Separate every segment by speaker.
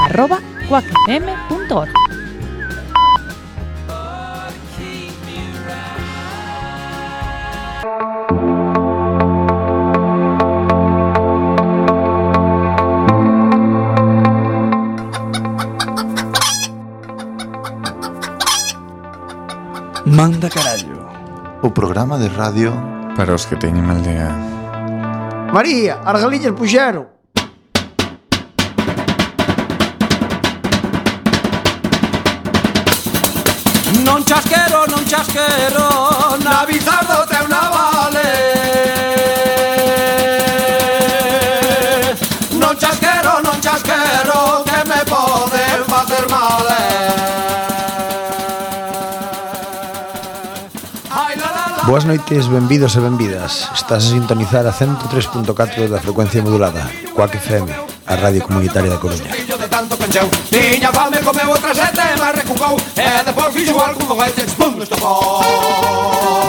Speaker 1: arroba cuacfm.org.
Speaker 2: Manda carallo.
Speaker 3: O programa de radio
Speaker 4: Para os que teñen mal día
Speaker 2: María, as galillas puxeron.
Speaker 5: Non chasquero, non chasquero Na bizardo te una vale Non chasquero, non chasquero Que me poden facer mal eh. Ai, la, la, la.
Speaker 6: Boas noites, benvidos e benvidas Estás a sintonizar a 103.4 da frecuencia modulada Coac FM, a radio comunitaria da Coruña
Speaker 5: Fillo de tanto pencheu Tiña fame, comeu outra sete, mas recucou E depois fixo algún goete, pum, estopou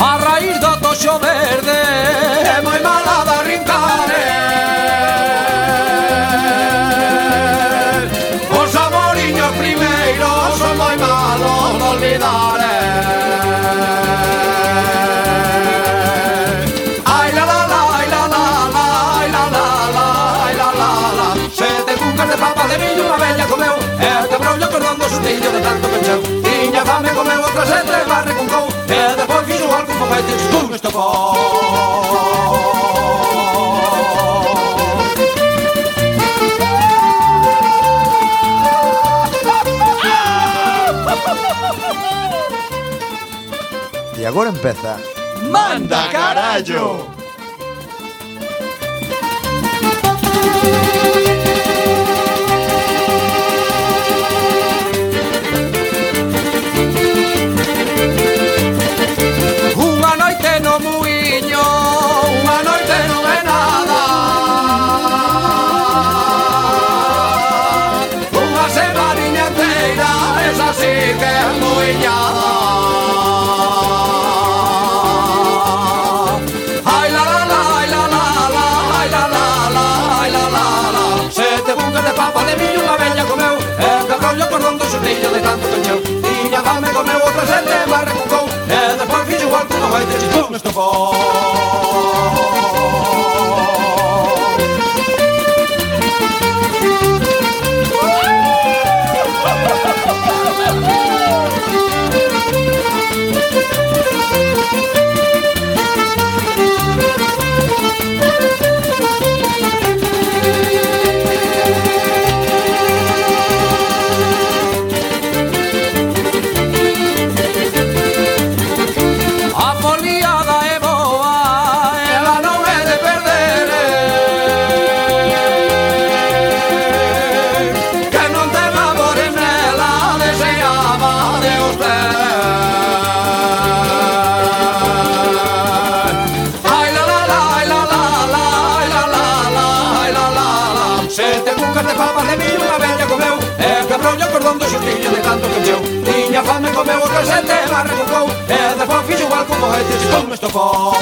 Speaker 5: A raíz do toxo verde É moi mala da rincare eh. Os amoriños primeiros Son moi malos de olvidar eh. Ai la la la, ai la la la Ai la la la, ai la la la Sete cuncas de papa de millo Unha bella comeu E te brollo cordón do sustillo De tanto pencheu Tiña fame comeu outra sete Barre con cou E depois fixo algún foguete Pum, estopou
Speaker 6: E agora empeza
Speaker 5: Manda carallo. Unha noite no muiño, unha noite non é nada. Unha semaninha inteira, esa sí que é muiñada. Ai la la la, ai la la la, ai la la la, ai la la la. Sete bucas de papa de millo unha bella comeu, e de rollo cordón do xortillo de tanto cancheu. Tiña fame comeu outra sete, mas recucou, e despois fixo igual que non vai ter chicón estopou. A foliada é boa, ela non é de perder eh. Que non te labores nela, deseaba de usted Ai la la la, ai la la la, ai la la la, ai la la la Sete cucas de papas de millo unha bella comeu E quebrou o cordón do xustillo de tanto que encheu Tiña fame comeu o casete, la recucou E despois fixo igual como este xipón me estopou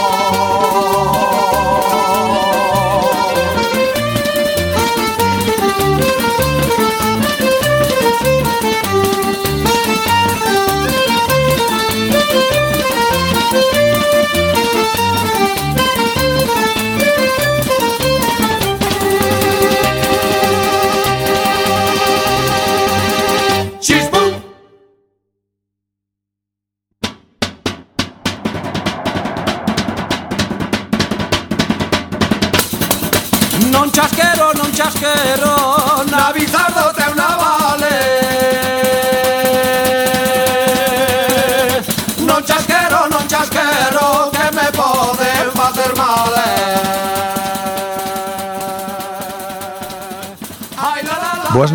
Speaker 5: Chispum! Non chasquero, non chasquero Na bizardo te una vale Non chasquero, non chasquero Que me poden facer mal eh. Ai la la la
Speaker 6: Boas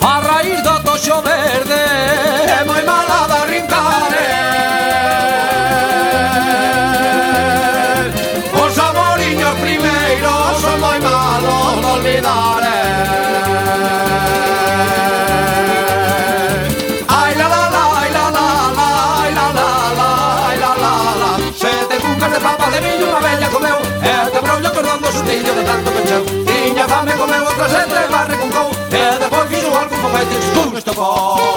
Speaker 5: A raíz do toxo verde É moi mala da rincare Os amoriños primeiros Son moi malos de olvidar eh. Ai la la la, ai la la la Ai la la la, ai la la la Sete cucas de papa de millo Unha bella comeu E te brollo cordando sustillo de tanto pencheu Tiña fame comeu outra sete e barre con cou E depois fixo algo foguetes Pum, estopou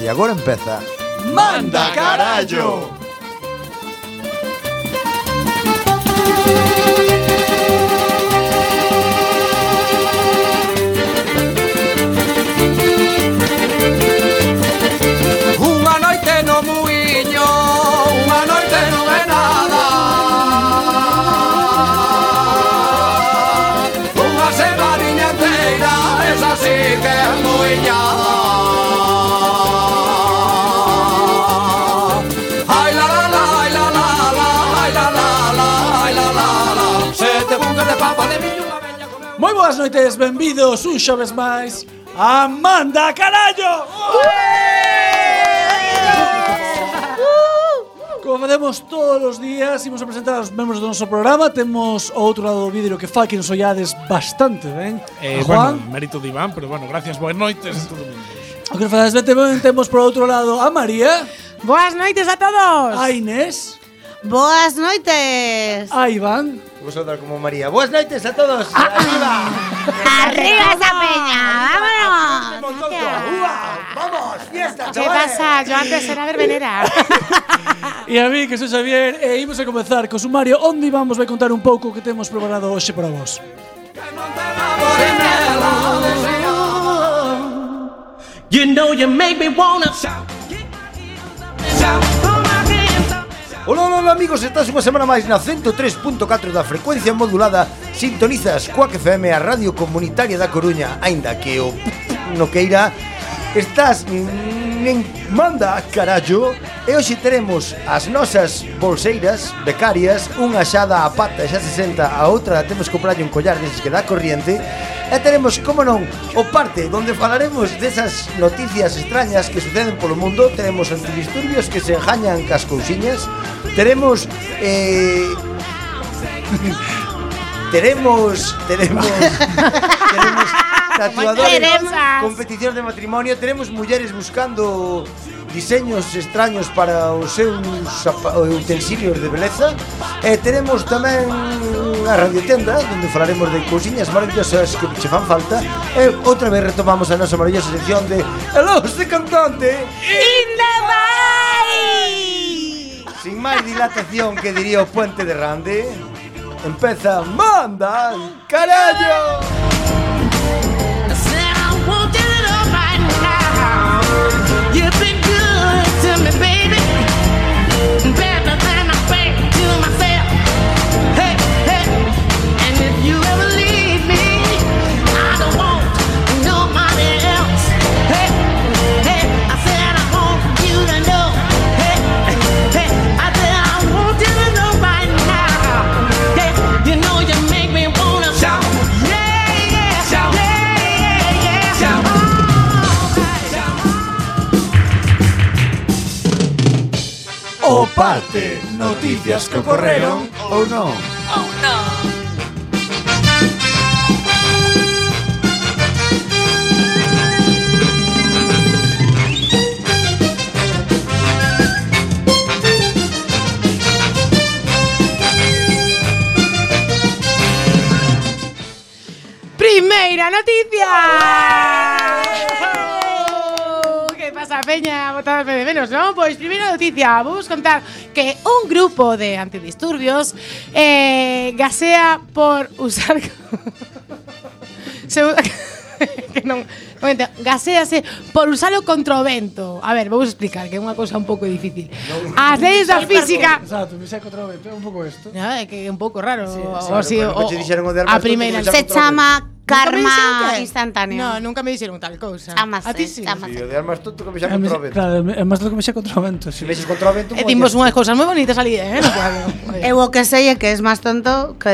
Speaker 6: E agora empeza
Speaker 5: Manda carallo! Unha noite no muiño, unha noite non é nada Unha semaninha inteira, esa sí que é muiñada Ai la la la, ai la la la, ai la la la, ai la la la Sete bucas de papa de miño, unha bella comeu
Speaker 7: Moi boas noites, benvidos un xoves máis a Manda Carallo!
Speaker 8: Uh!
Speaker 7: Como facemos todos os días, imos a presentar os membros do noso programa Temos o outro lado do vidro que fai que nos ollades bastante ben
Speaker 9: Eh,
Speaker 7: A Juan,
Speaker 9: Bueno, mérito de Iván, pero bueno, gracias. Buenas noites a todo mundo.
Speaker 7: o que nos falades ben tamén temos por outro lado a María
Speaker 8: Boas noites a todos.
Speaker 7: A Inés,
Speaker 8: Boas noites.
Speaker 7: a Iván
Speaker 2: Vosotras como María. Buenas noches a todos.
Speaker 6: Ah!
Speaker 2: Arriba.
Speaker 8: Arriba esa peña. Vámonos.
Speaker 2: Vamos, fiesta,
Speaker 8: ¿Qué pasa? Yo antes era verbenera.
Speaker 7: e a mí que sou Xavier E imos a comezar co sumario onde vamos vai contar un pouco o que temos preparado hoxe para vos
Speaker 5: You know you make me wanna shout.
Speaker 2: Hola, hola, hola, amigos, estás unha semana máis na 103.4 da frecuencia modulada Sintonizas Coac FM a Radio Comunitaria da Coruña Ainda que o no que irá Estás en Manda Carallo E hoxe teremos as nosas bolseiras becarias Unha xada a pata xa 60 A outra la temos que comprarlle un collar deses que dá corriente E teremos, como non, o parte Donde falaremos desas noticias extrañas que suceden polo mundo Teremos antidisturbios que se enjañan cas cousiñas Teremos eh, Teremos Teremos Teremos tatuadores
Speaker 8: Teremos.
Speaker 2: Competicións de matrimonio Teremos mulleres buscando diseños extraños para os seus apa- utensilios de beleza E teremos tamén a radiotenda Donde falaremos de cousiñas maravillosas que che fan falta E outra vez retomamos a nosa maravillosa sección de Elos de cantante
Speaker 8: In the bay.
Speaker 2: Sin máis dilatación que diría o puente de Rande Empeza Manda Carallo
Speaker 10: You know you make me wanna
Speaker 5: Shout.
Speaker 10: yeah, yeah,
Speaker 5: Shout.
Speaker 10: yeah, yeah, yeah.
Speaker 5: Shout.
Speaker 2: O parte Noticias que ocorreron ou non
Speaker 8: Primeira noticia! Que pasa, peña? Botadme de menos, non? Pois, primeira noticia, vamos contar que un grupo de antidisturbios eh, gasea por usar... Seu- que non, non entendo. Gasease por usar o controvento. A ver, vamos explicar, que é unha cousa un pouco difícil. As leis da física...
Speaker 7: Exacto, me saco outra vez, pega un pouco esto.
Speaker 8: No, é que é un pouco raro. Sí, o,
Speaker 2: claro, pues,
Speaker 8: si,
Speaker 2: pero
Speaker 8: o,
Speaker 2: che dixeron o de pues,
Speaker 8: a
Speaker 2: Armstrong,
Speaker 8: primeira
Speaker 2: que
Speaker 8: se
Speaker 2: se
Speaker 8: chama
Speaker 11: karma instantáneo.
Speaker 8: No, nunca me dixeron tal cousa.
Speaker 11: Chámase,
Speaker 8: a ti sí.
Speaker 11: chámase.
Speaker 2: Tío, de armas tonto que me
Speaker 7: É
Speaker 2: llamo
Speaker 7: mes-
Speaker 2: otra vez.
Speaker 7: Em, Claro, é máis do que me xa contra o vento, sí.
Speaker 2: Si me echas contra o vento,
Speaker 8: E
Speaker 2: como
Speaker 8: dimos
Speaker 2: ya-
Speaker 8: unhas cousas moi bonitas ali, eh? No cuadro. Oye.
Speaker 11: Eu o que sei é que es máis tonto que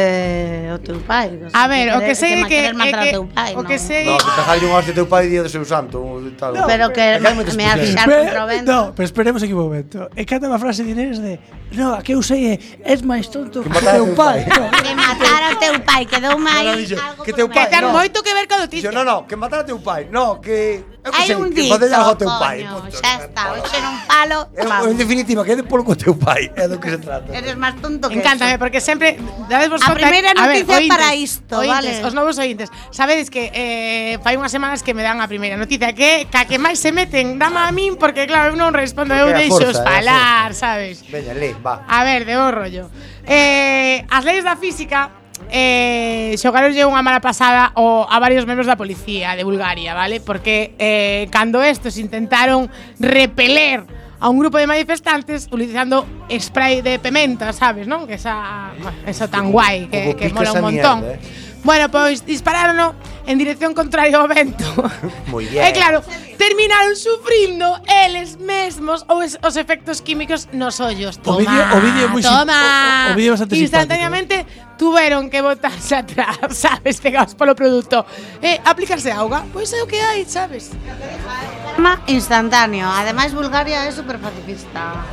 Speaker 11: o teu pai.
Speaker 8: A ver, o que sei é que,
Speaker 11: querer matar
Speaker 8: é que
Speaker 11: o teu pai,
Speaker 8: o que
Speaker 11: non.
Speaker 8: sei
Speaker 2: No, que te jallo un as de teu pai día do seu santo. un Tal.
Speaker 11: Pero que
Speaker 2: Acá
Speaker 11: me
Speaker 2: me
Speaker 11: has
Speaker 2: despexei.
Speaker 11: fixar
Speaker 7: Pe-
Speaker 11: contra o vento.
Speaker 7: no, pero esperemos aquí un momento. E canta a frase de Inés de No, a que eu sei é Es máis tonto que o
Speaker 2: matar a
Speaker 7: teu
Speaker 2: teu
Speaker 7: pai
Speaker 2: pai.
Speaker 11: Que
Speaker 7: No.
Speaker 11: matar ao teu pai, que dou máis
Speaker 2: Ahora dixo,
Speaker 11: algo
Speaker 2: que teu
Speaker 11: por
Speaker 8: que
Speaker 2: pai,
Speaker 11: menos.
Speaker 8: ten
Speaker 2: no.
Speaker 8: moito que ver ca noticia.
Speaker 2: Dixo, no, no, que matar a teu pai. No, que... Eu que
Speaker 11: Hai
Speaker 2: sei,
Speaker 11: un
Speaker 2: que
Speaker 11: dito,
Speaker 2: facer algo a teu pai.
Speaker 11: coño,
Speaker 2: punto.
Speaker 11: xa está, hoxe non falo,
Speaker 2: É, En
Speaker 11: vamos.
Speaker 2: definitiva, que é de polo co teu pai. É do que se trata.
Speaker 11: Eres máis tonto que
Speaker 8: Encántame,
Speaker 11: eso.
Speaker 8: ¿eh? porque sempre dades vos
Speaker 11: A
Speaker 8: conta-
Speaker 11: primeira
Speaker 8: ver,
Speaker 11: noticia
Speaker 8: ointes,
Speaker 11: para isto,
Speaker 8: ointes,
Speaker 11: vale.
Speaker 8: Os novos ointes. Sabedes que eh, fai unhas semanas que me dan a primeira noticia que ca que máis se meten dama a min porque claro, eu non respondo, eu
Speaker 2: Porque é a ¿eh?
Speaker 8: deixo os
Speaker 2: forza, é a
Speaker 8: falar, sabes?
Speaker 2: Veña, le, va.
Speaker 8: A ver, de bo rollo. Eh, as leis da física eh, xogaronlle unha mala pasada o, a varios membros da policía de Bulgaria, vale? Porque eh, cando estos intentaron repeler a un grupo de manifestantes utilizando spray de pimenta, sabes, non? Que esa, eso tan guai, que,
Speaker 2: Como
Speaker 8: que
Speaker 2: pica
Speaker 8: mola un
Speaker 2: esa
Speaker 8: montón.
Speaker 2: mierda, eh.
Speaker 8: Bueno, pois dispararon en dirección contraria ao vento.
Speaker 2: eh. Moi bien.
Speaker 8: E Eh, claro, terminaron sufrindo eles mesmos os, os efectos químicos nos ollos.
Speaker 7: O
Speaker 8: Toma,
Speaker 7: vídeo- o vídeo é moi sim-
Speaker 8: toma.
Speaker 7: o- o vídeo é bastante
Speaker 8: Instantaneamente tuveron que botarse atrás, sabes, pegados polo produto. E aplicarse auga, pois é o que hai, sabes?
Speaker 11: Karma instantáneo. Ademais, Bulgaria é super pacifista.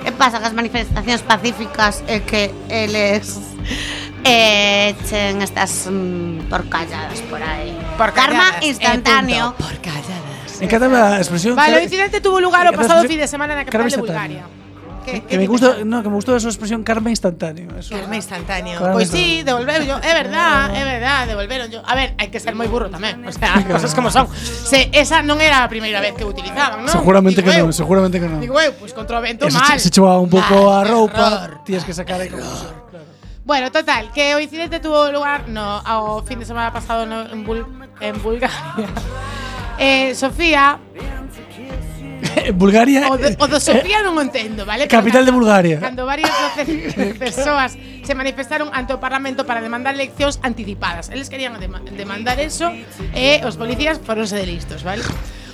Speaker 11: Que pasa que as manifestacións pacíficas é que eles eh, echen estas mm, porcalladas por aí. Karma instantáneo.
Speaker 8: Por calladas.
Speaker 7: E canta a expresión
Speaker 8: Vale, o
Speaker 7: que-
Speaker 8: incidente tuvo lugar o
Speaker 7: Entonces,
Speaker 8: pasado
Speaker 7: sí.
Speaker 8: fin de semana na capital
Speaker 7: Carmen
Speaker 8: de Bulgaria.
Speaker 7: instantáneo.
Speaker 8: Que,
Speaker 7: Que me gusta, no, que me gustó esa expresión karma instantáneo. Eso.
Speaker 8: Carme instantáneo.
Speaker 7: Carme
Speaker 8: Pois Pues
Speaker 7: instantáneo.
Speaker 8: sí, devolveron yo. É verdad, é verdad, devolveron yo. A ver, hai que ser moi burro tamén. O sea, cosas como son. Se, esa non era a primeira vez que utilizaban, non?
Speaker 7: Seguramente
Speaker 8: Digo
Speaker 7: que
Speaker 8: eu.
Speaker 7: no, seguramente que no.
Speaker 8: Digo eu, pois contra o vento
Speaker 7: Eso
Speaker 8: mal.
Speaker 7: se chupaba un pouco
Speaker 8: Mal,
Speaker 7: a roupa,
Speaker 8: error.
Speaker 7: tienes que sacar aí como
Speaker 8: Bueno, total, que o incidente tuvo lugar no ao fin de semana pasado no, en, Bul en Bulgaria. Eh, Sofía,
Speaker 7: Bulgaria. eh,
Speaker 8: o, de, o do Sofía non o entendo, vale? Pero
Speaker 7: Capital de
Speaker 8: cando-
Speaker 7: Bulgaria.
Speaker 8: Cando varias doce- persoas se manifestaron ante o Parlamento para demandar eleccións anticipadas. Eles querían dema- demandar eso e os policías foronse de listos, vale?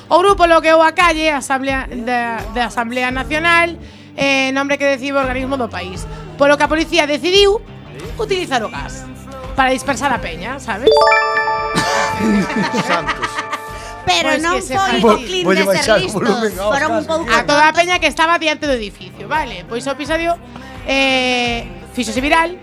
Speaker 8: O grupo loqueou a calle a Asamblea da, da Asamblea Nacional eh, nombre que decibe o organismo do país. Polo que a policía decidiu utilizar o gas para dispersar a peña, sabes?
Speaker 2: Santos.
Speaker 11: Pero
Speaker 2: Pues
Speaker 8: Pois
Speaker 11: non
Speaker 8: que se
Speaker 11: foi o
Speaker 8: fa-
Speaker 11: clean
Speaker 2: Voy a
Speaker 11: de ser
Speaker 2: baixar o
Speaker 11: listos.
Speaker 2: volumen ao
Speaker 11: Foron un pouco
Speaker 8: a toda a peña que estaba diante do edificio, vale? Pois o episodio eh, fixose viral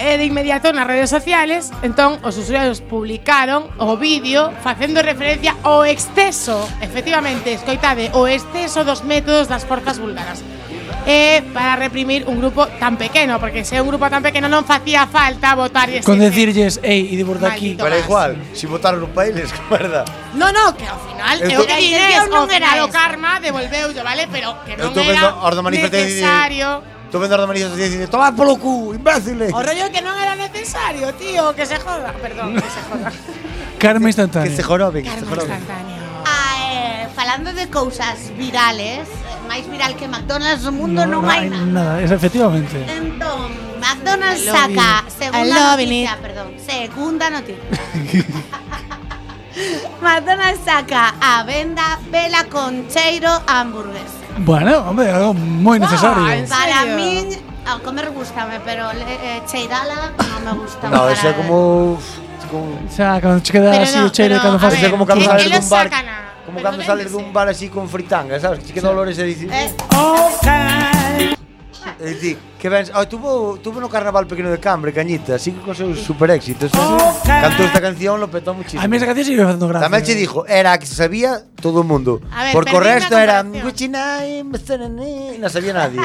Speaker 8: e de inmediato nas redes sociales entón os usuarios publicaron o vídeo facendo referencia ao exceso efectivamente, escoitade o exceso dos métodos das forzas búlgaras eh, para reprimir un grupo tan pequeno porque se é un grupo tan pequeno non facía falta votar
Speaker 7: Con decirles, hey, y por aquí.
Speaker 8: Maldito.
Speaker 2: Pero é igual, si votaron un país, es merda.
Speaker 8: No, no, que ao final
Speaker 2: Eu
Speaker 8: é
Speaker 2: to-
Speaker 8: o que
Speaker 11: A
Speaker 8: diré,
Speaker 11: intención non
Speaker 8: ao
Speaker 11: era
Speaker 8: final o
Speaker 11: esa.
Speaker 8: karma devolveulle, vale? Pero que
Speaker 2: Eu
Speaker 8: non
Speaker 2: estou vendo
Speaker 8: era
Speaker 2: as da manifestación e
Speaker 8: necesario.
Speaker 2: Estou vendo as da manifestación e dicindo, tomad polo cu, imbéciles.
Speaker 8: O rollo que non era necesario, tío, que se joda. Perdón, que se joda.
Speaker 2: Que
Speaker 7: Karma instantáneo.
Speaker 2: se joroben, que se
Speaker 8: Karma
Speaker 2: joroben.
Speaker 8: instantáneo.
Speaker 11: Ah, eh, falando de cousas virales, eh, máis viral que McDonald's no mundo non, hai
Speaker 7: hay
Speaker 11: nada.
Speaker 7: nada, es efectivamente.
Speaker 11: Entón, McDonald's
Speaker 8: I love
Speaker 11: saca
Speaker 8: it. I
Speaker 11: segunda
Speaker 8: love
Speaker 11: noticia, perdón, segunda noticia. McDonald's saca a venda vela con cheiro a hamburguesa.
Speaker 7: Bueno, hombre, algo muy
Speaker 8: en
Speaker 7: necesario.
Speaker 8: serio?
Speaker 11: Para min, a comer gustame, pero le, eh, cheirala non me gusta.
Speaker 2: No,
Speaker 11: para
Speaker 2: eso é
Speaker 11: nada.
Speaker 2: como... como
Speaker 7: O sea, cuando te queda así el cheiro cuando
Speaker 8: a
Speaker 7: haces
Speaker 2: Eso é
Speaker 8: ver,
Speaker 2: como cando
Speaker 8: que-
Speaker 2: sales
Speaker 8: que
Speaker 2: dun
Speaker 8: los
Speaker 2: bar.
Speaker 8: sacan a-
Speaker 2: Como
Speaker 8: pero
Speaker 2: cando sales
Speaker 8: véndese.
Speaker 2: dun bar así con fritanga, sabes? Que si que dá olores e dices...
Speaker 11: Eh,
Speaker 2: E dicir, que vens... Oh, tuvo, tuvo no carnaval pequeno de Cambre, Cañita, así que con seus super éxitos. Cantou esta canción, lo petó muchísimo.
Speaker 7: A mí esa canción sigue haciendo gracia.
Speaker 2: Tamén che dixo, era a que se sabía todo o mundo.
Speaker 8: A ver,
Speaker 2: Porque o
Speaker 8: perdí
Speaker 2: resto
Speaker 8: na
Speaker 2: era
Speaker 8: comparación.
Speaker 2: Gucci Nine, Mr. non sabía nadie.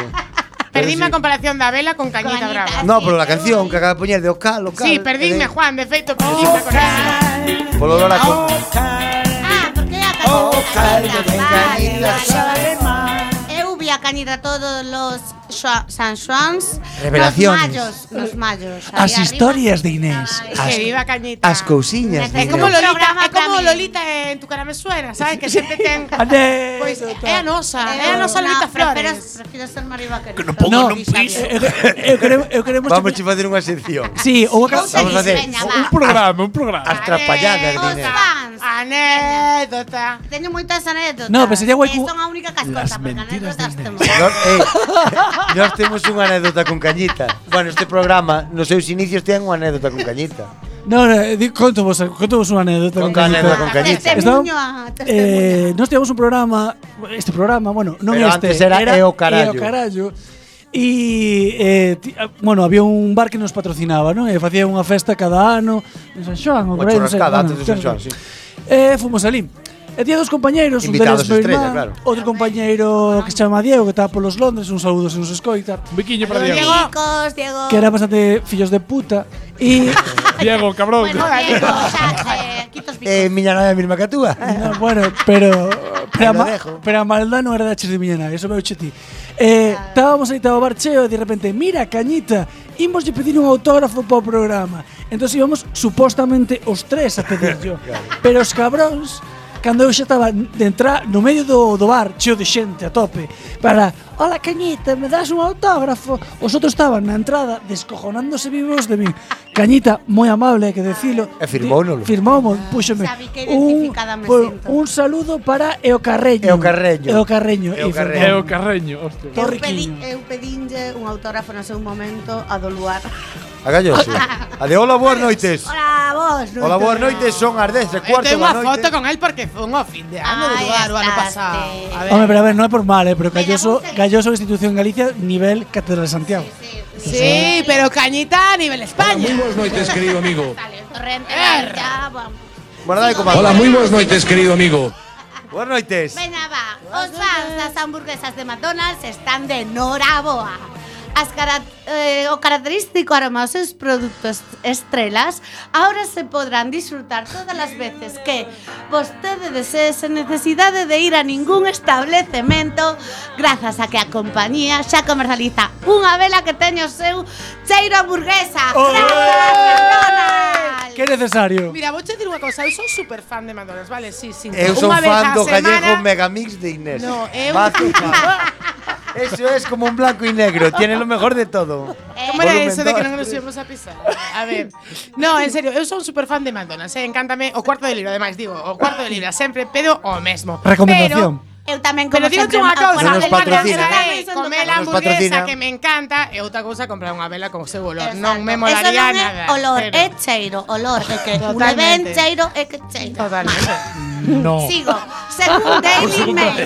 Speaker 8: Perdíme
Speaker 2: Pero
Speaker 8: a comparación da vela con Cañita
Speaker 11: Cañita.
Speaker 8: Brava.
Speaker 2: No, pero la canción que acaba de poñer de Ocal, Ocal.
Speaker 8: Sí, perdíme,
Speaker 2: eh,
Speaker 8: Juan, de feito, perdíme con esa.
Speaker 2: Polo olor a co-
Speaker 11: Ah, porque é a cañita. vale, vale, vale. Eu vi a cañita todos los xo- San Xoans
Speaker 2: Revelaciones.
Speaker 11: Nos mayos, nos mayos.
Speaker 2: As historias de Inés.
Speaker 8: As- Que viva Cañita. as
Speaker 2: cousiñas
Speaker 8: É como Lolita, é como Lolita en tu cara me suena, sabes? Que Pues, sempre ten Pois é a
Speaker 11: Eh,
Speaker 8: nosa, é a nosa Lolita Eh, Flores.
Speaker 11: Prefiro ser Mari Vaquero.
Speaker 7: No, eu- eu- eu queremos- eu queremos
Speaker 2: Vamos a facer unha sección.
Speaker 7: Sí, ou a ca-
Speaker 2: Vamos a facer
Speaker 11: Veña, va.
Speaker 2: programa, un programa. As trapalladas de Inés.
Speaker 11: fans.
Speaker 8: Anécdota.
Speaker 11: Teño moitas anécdotas.
Speaker 2: No, pero sería guai
Speaker 11: que
Speaker 2: cu-
Speaker 11: Son a única cascota, porque anécdotas temos.
Speaker 2: Nós, eh, nós temos unha anécdota con Cañita. Bueno, este programa, nos seus inicios, ten unha anécdota con Cañita.
Speaker 7: No, no, di- conto vos, conto vos unha anécdota
Speaker 2: Conta a anécdota con Cañita. Ah,
Speaker 11: Testemunha,
Speaker 7: eh, nós tivemos un programa, este programa, bueno, non
Speaker 2: Pero
Speaker 7: este,
Speaker 2: antes era E o carallo.
Speaker 7: E o carallo. E, eh, ti, ah, bueno, había un bar que nos patrocinaba, non? E facía unha festa cada ano en San Xoan, ou
Speaker 2: Unha
Speaker 7: por aí, non sei,
Speaker 2: churrascada
Speaker 7: bueno,
Speaker 2: antes de San Xoan, sí.
Speaker 7: E fomos ali. E tía dos compañeiros, un
Speaker 2: Invitados
Speaker 7: deles meu
Speaker 2: estrella,
Speaker 7: irmán,
Speaker 2: claro.
Speaker 7: outro compañeiro que se chama Diego, que está polos Londres, un saúdo se nos escoita. Biquiño
Speaker 11: Los ricos, Diego.
Speaker 7: Que era bastante fillos de puta. Y.
Speaker 9: Diego, cabrón.
Speaker 11: Bueno, Diego, xa, eh, quitos bicos.
Speaker 2: Eh, miña nai é a mesma que a túa.
Speaker 7: No, bueno, pero. Pero, a,
Speaker 2: Lo
Speaker 7: ma-
Speaker 2: dejo.
Speaker 7: pero a maldad no era de H de Millena, eso me lo ti. Eh, estábamos ahí, estaba Barcheo, y de repente, mira, Cañita, ímoslle pedir un autógrafo para o programa. Entonces íbamos supostamente os tres a pedir yo. pero os cabróns, cando eu xa estaba de entrar no medio do, do bar, cheo de xente a tope, para, hola Cañita, me das un autógrafo? Os outros estaban na entrada descojonándose vivos de min. Cañita, moi amable, hai que decilo.
Speaker 2: E firmónolo.
Speaker 7: Firmou, púxome
Speaker 11: Ah, Sabe que
Speaker 7: un,
Speaker 11: identificada me
Speaker 7: bueno,
Speaker 11: siento.
Speaker 7: un saludo para Eocarreño.
Speaker 2: Eocarreño. Eocarreño.
Speaker 7: Eocarreño. E
Speaker 9: Diego
Speaker 7: Fernando.
Speaker 9: Carreño. hostia.
Speaker 11: Eu, pedi, eu pedinlle un autógrafo no seu momento a do lugar.
Speaker 2: A galloso. A de hola, boas noites.
Speaker 11: Hola, vos. non
Speaker 2: Hola, boas
Speaker 11: te-
Speaker 2: noites, son as 10 e
Speaker 8: Eu
Speaker 2: cuarto
Speaker 8: tengo unha
Speaker 2: da
Speaker 8: Este
Speaker 2: noite.
Speaker 8: foto con él porque foi un fin de ano de
Speaker 11: Ahí
Speaker 8: lugar o ano
Speaker 11: estás,
Speaker 8: pasado.
Speaker 11: sí.
Speaker 8: A ver.
Speaker 7: Hombre, pero a ver, no es por mal, eh, pero Galloso,
Speaker 11: vamos a-
Speaker 7: Galloso institución Galicia, nivel Catedral de Santiago.
Speaker 8: Sí, pero cañita a nivel España.
Speaker 5: buenas noites, querido amigo.
Speaker 11: Dale, el torrente,
Speaker 8: Er.
Speaker 11: ya, vamos.
Speaker 2: Bueno, dale, comadre.
Speaker 5: Hola, muy buenas noites, querido amigo.
Speaker 2: Boas noites.
Speaker 11: Veña, ah, va. Os fans das hamburguesas de McDonald's están de noraboa. As cara eh, o característico aroma dos seus produtos estrelas ahora se podrán disfrutar todas as veces que vostede desee sen necesidade de ir a ningún establecemento grazas a que a compañía xa comercializa unha vela que teñe o seu cheiro a hamburguesa. Grazas, McDonald's!
Speaker 7: Qué necesario.
Speaker 8: Mira, vou te dicir unha cousa, eu son super fan de McDonald's, vale? Sí, sí.
Speaker 2: Eu son
Speaker 8: Unha vez á
Speaker 2: fan do gallego
Speaker 8: semana-
Speaker 2: Megamix de Inés.
Speaker 8: No, eu-
Speaker 2: Mazo, mazo. Eso es como un blanco y negro, tiene lo mejor de
Speaker 11: Eh,
Speaker 2: todo.
Speaker 8: Como era
Speaker 2: Eh, Volumen
Speaker 8: eso de que
Speaker 2: dos.
Speaker 8: non nos íbamos a pisar? A ver. No, en serio, eu son super fan de McDonald's, eh? encántame o cuarto de libra, ademais digo, o cuarto de libra sempre pedo o mesmo.
Speaker 7: Recomendación.
Speaker 8: Pero,
Speaker 11: Eu tamén como
Speaker 8: Pero dígote
Speaker 11: a
Speaker 8: unha cousa,
Speaker 2: No
Speaker 8: unha
Speaker 2: nos
Speaker 8: cousa
Speaker 2: patrocina.
Speaker 8: é comer a
Speaker 2: Non nos patrocina.
Speaker 8: hamburguesa que me encanta e outra cousa comprar unha vela con o seu olor. Non me molaría
Speaker 11: Eso non é
Speaker 8: nada.
Speaker 11: olor,
Speaker 8: cero.
Speaker 11: é cheiro, olor, é que un ben
Speaker 8: Totalmente.
Speaker 11: cheiro é que cheiro.
Speaker 8: Totalmente.
Speaker 9: No.
Speaker 11: Sigo, según Daily Mail.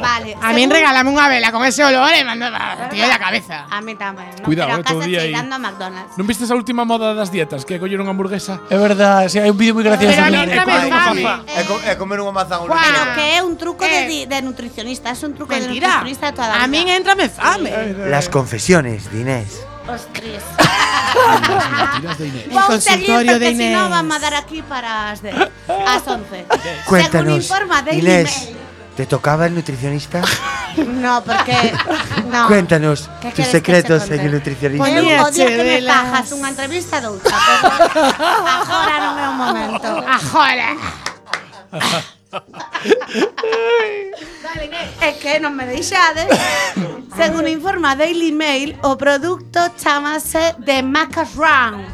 Speaker 11: Vale,
Speaker 8: A mí
Speaker 11: según-
Speaker 8: regálame unha vela con ese olor e mando tío de la cabeza.
Speaker 11: A mí tamén, no pero a
Speaker 9: Cuidado, eh, todo
Speaker 11: casa
Speaker 9: o día aí.
Speaker 11: cheirando a McDonald's.
Speaker 9: ¿No viste esa última moda das dietas? Que colleron hamburguesa. eh,
Speaker 7: Es verdad, sí, hay un vídeo muy gracioso.
Speaker 8: Pero a
Speaker 7: en
Speaker 8: mí
Speaker 7: el-
Speaker 8: entra me
Speaker 9: Cuidado, papá.
Speaker 2: É, co- é comer unha mazá ao
Speaker 8: Guau.
Speaker 11: Pero
Speaker 8: Ah.
Speaker 11: que é un truco de,
Speaker 8: Eh.
Speaker 11: di- de nutricionista, es un truco de
Speaker 8: Mentira.
Speaker 11: nutricionista de toda la vida.
Speaker 8: A mí entrame fame.
Speaker 2: Las confesiones de Inés.
Speaker 11: Ostras.
Speaker 8: El
Speaker 11: Vou seguir
Speaker 8: consultorio de
Speaker 11: porque si
Speaker 8: Inés.
Speaker 11: no vamos a dar aquí para as 10, as 11. Según
Speaker 2: Cuéntanos,
Speaker 11: informa Daily
Speaker 2: Inés,
Speaker 11: Mail.
Speaker 2: ¿te tocaba el nutricionista?
Speaker 11: No, porque no.
Speaker 2: Cuéntanos
Speaker 11: ¿Qué quieres que
Speaker 2: tus
Speaker 11: Pues,
Speaker 2: secretos
Speaker 11: te
Speaker 2: en
Speaker 11: conte?
Speaker 2: el nutricionista.
Speaker 8: Poñe-
Speaker 11: Eu o día que me
Speaker 8: Chevelas.
Speaker 11: fajas unha entrevista doutra. pero Agora non é o momento.
Speaker 8: Ajora.
Speaker 2: Ah,
Speaker 11: É que non me deixades. Según informa Daily Mail, o producto chamase de Macaron.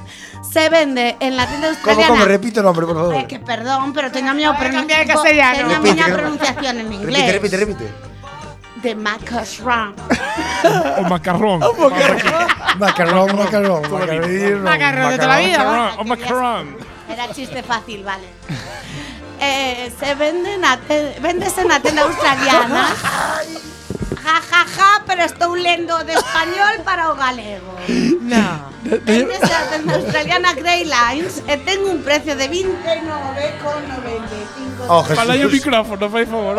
Speaker 11: Se vende en la tienda
Speaker 2: ¿Cómo,
Speaker 11: australiana.
Speaker 2: cómo? Repite el nombre, por favor.
Speaker 11: É que perdón, pero teño a miña
Speaker 8: Voy a
Speaker 11: pronun-
Speaker 8: cambiar
Speaker 11: bo-
Speaker 8: de castellano.
Speaker 11: teño a
Speaker 2: Repite,
Speaker 11: miña
Speaker 2: que-
Speaker 11: pronunciación en inglés.
Speaker 2: Repite, repite, repite.
Speaker 11: De Macaron.
Speaker 9: O macarrón.
Speaker 2: macarrón, macarrón,
Speaker 9: macarrón.
Speaker 8: Macarrón de toda la vida. ¿va?
Speaker 9: O Oh, macarrón.
Speaker 11: Era chiste fácil, vale. Eh, se venden a te- véndese na tenda australiana. Ja, ja, ja, pero estou lendo de español para o galego.
Speaker 8: No.
Speaker 11: Véndese na tenda australiana Grey Lines e ten un precio de 29,95.
Speaker 2: Oh,
Speaker 9: Para o
Speaker 2: Jesús.
Speaker 9: micrófono, por favor.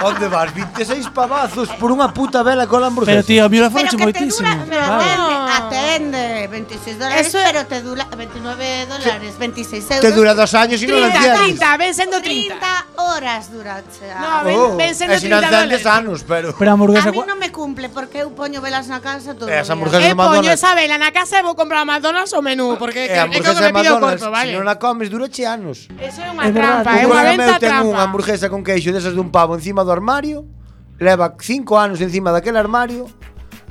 Speaker 2: ¿Dónde vas? e 26 pavazos por una puta vela con la hamburguesa.
Speaker 7: Pero tío, a mí la foto
Speaker 11: Pero
Speaker 7: es
Speaker 11: que te dura,
Speaker 7: muitísimo.
Speaker 11: pero atende, atende. eh, 26 dólares, pero te dura 29 dólares, 26 euros.
Speaker 2: Te dura dos años y no lo
Speaker 11: 30,
Speaker 2: entiendes.
Speaker 11: 30, ven sendo 30. 30 horas dura. No,
Speaker 2: Oh, e se non entendes anos, pero...
Speaker 7: Pero a
Speaker 11: A
Speaker 7: hamburguesa
Speaker 11: mí non me cumple porque eu poño velas na casa todo.
Speaker 2: E as
Speaker 11: o día.
Speaker 2: hamburguesas de
Speaker 8: Poño
Speaker 2: McDonald's...
Speaker 8: esa vela na casa e vou comprar a McDonald's o menú, porque
Speaker 2: E
Speaker 8: é
Speaker 2: a
Speaker 8: que- é que o que
Speaker 2: hamburguesa de
Speaker 8: me pide o corpo,
Speaker 2: McDonald's, se
Speaker 8: vale?
Speaker 2: non a comes, dura che anos.
Speaker 8: Eso é unha
Speaker 7: É verdad,
Speaker 8: trampa,
Speaker 7: tú
Speaker 8: é unha
Speaker 2: Un colega meu
Speaker 8: venta
Speaker 2: ten unha
Speaker 8: trampa.
Speaker 2: hamburguesa con queixo desas dun pavo encima do armario, leva cinco anos encima daquele armario,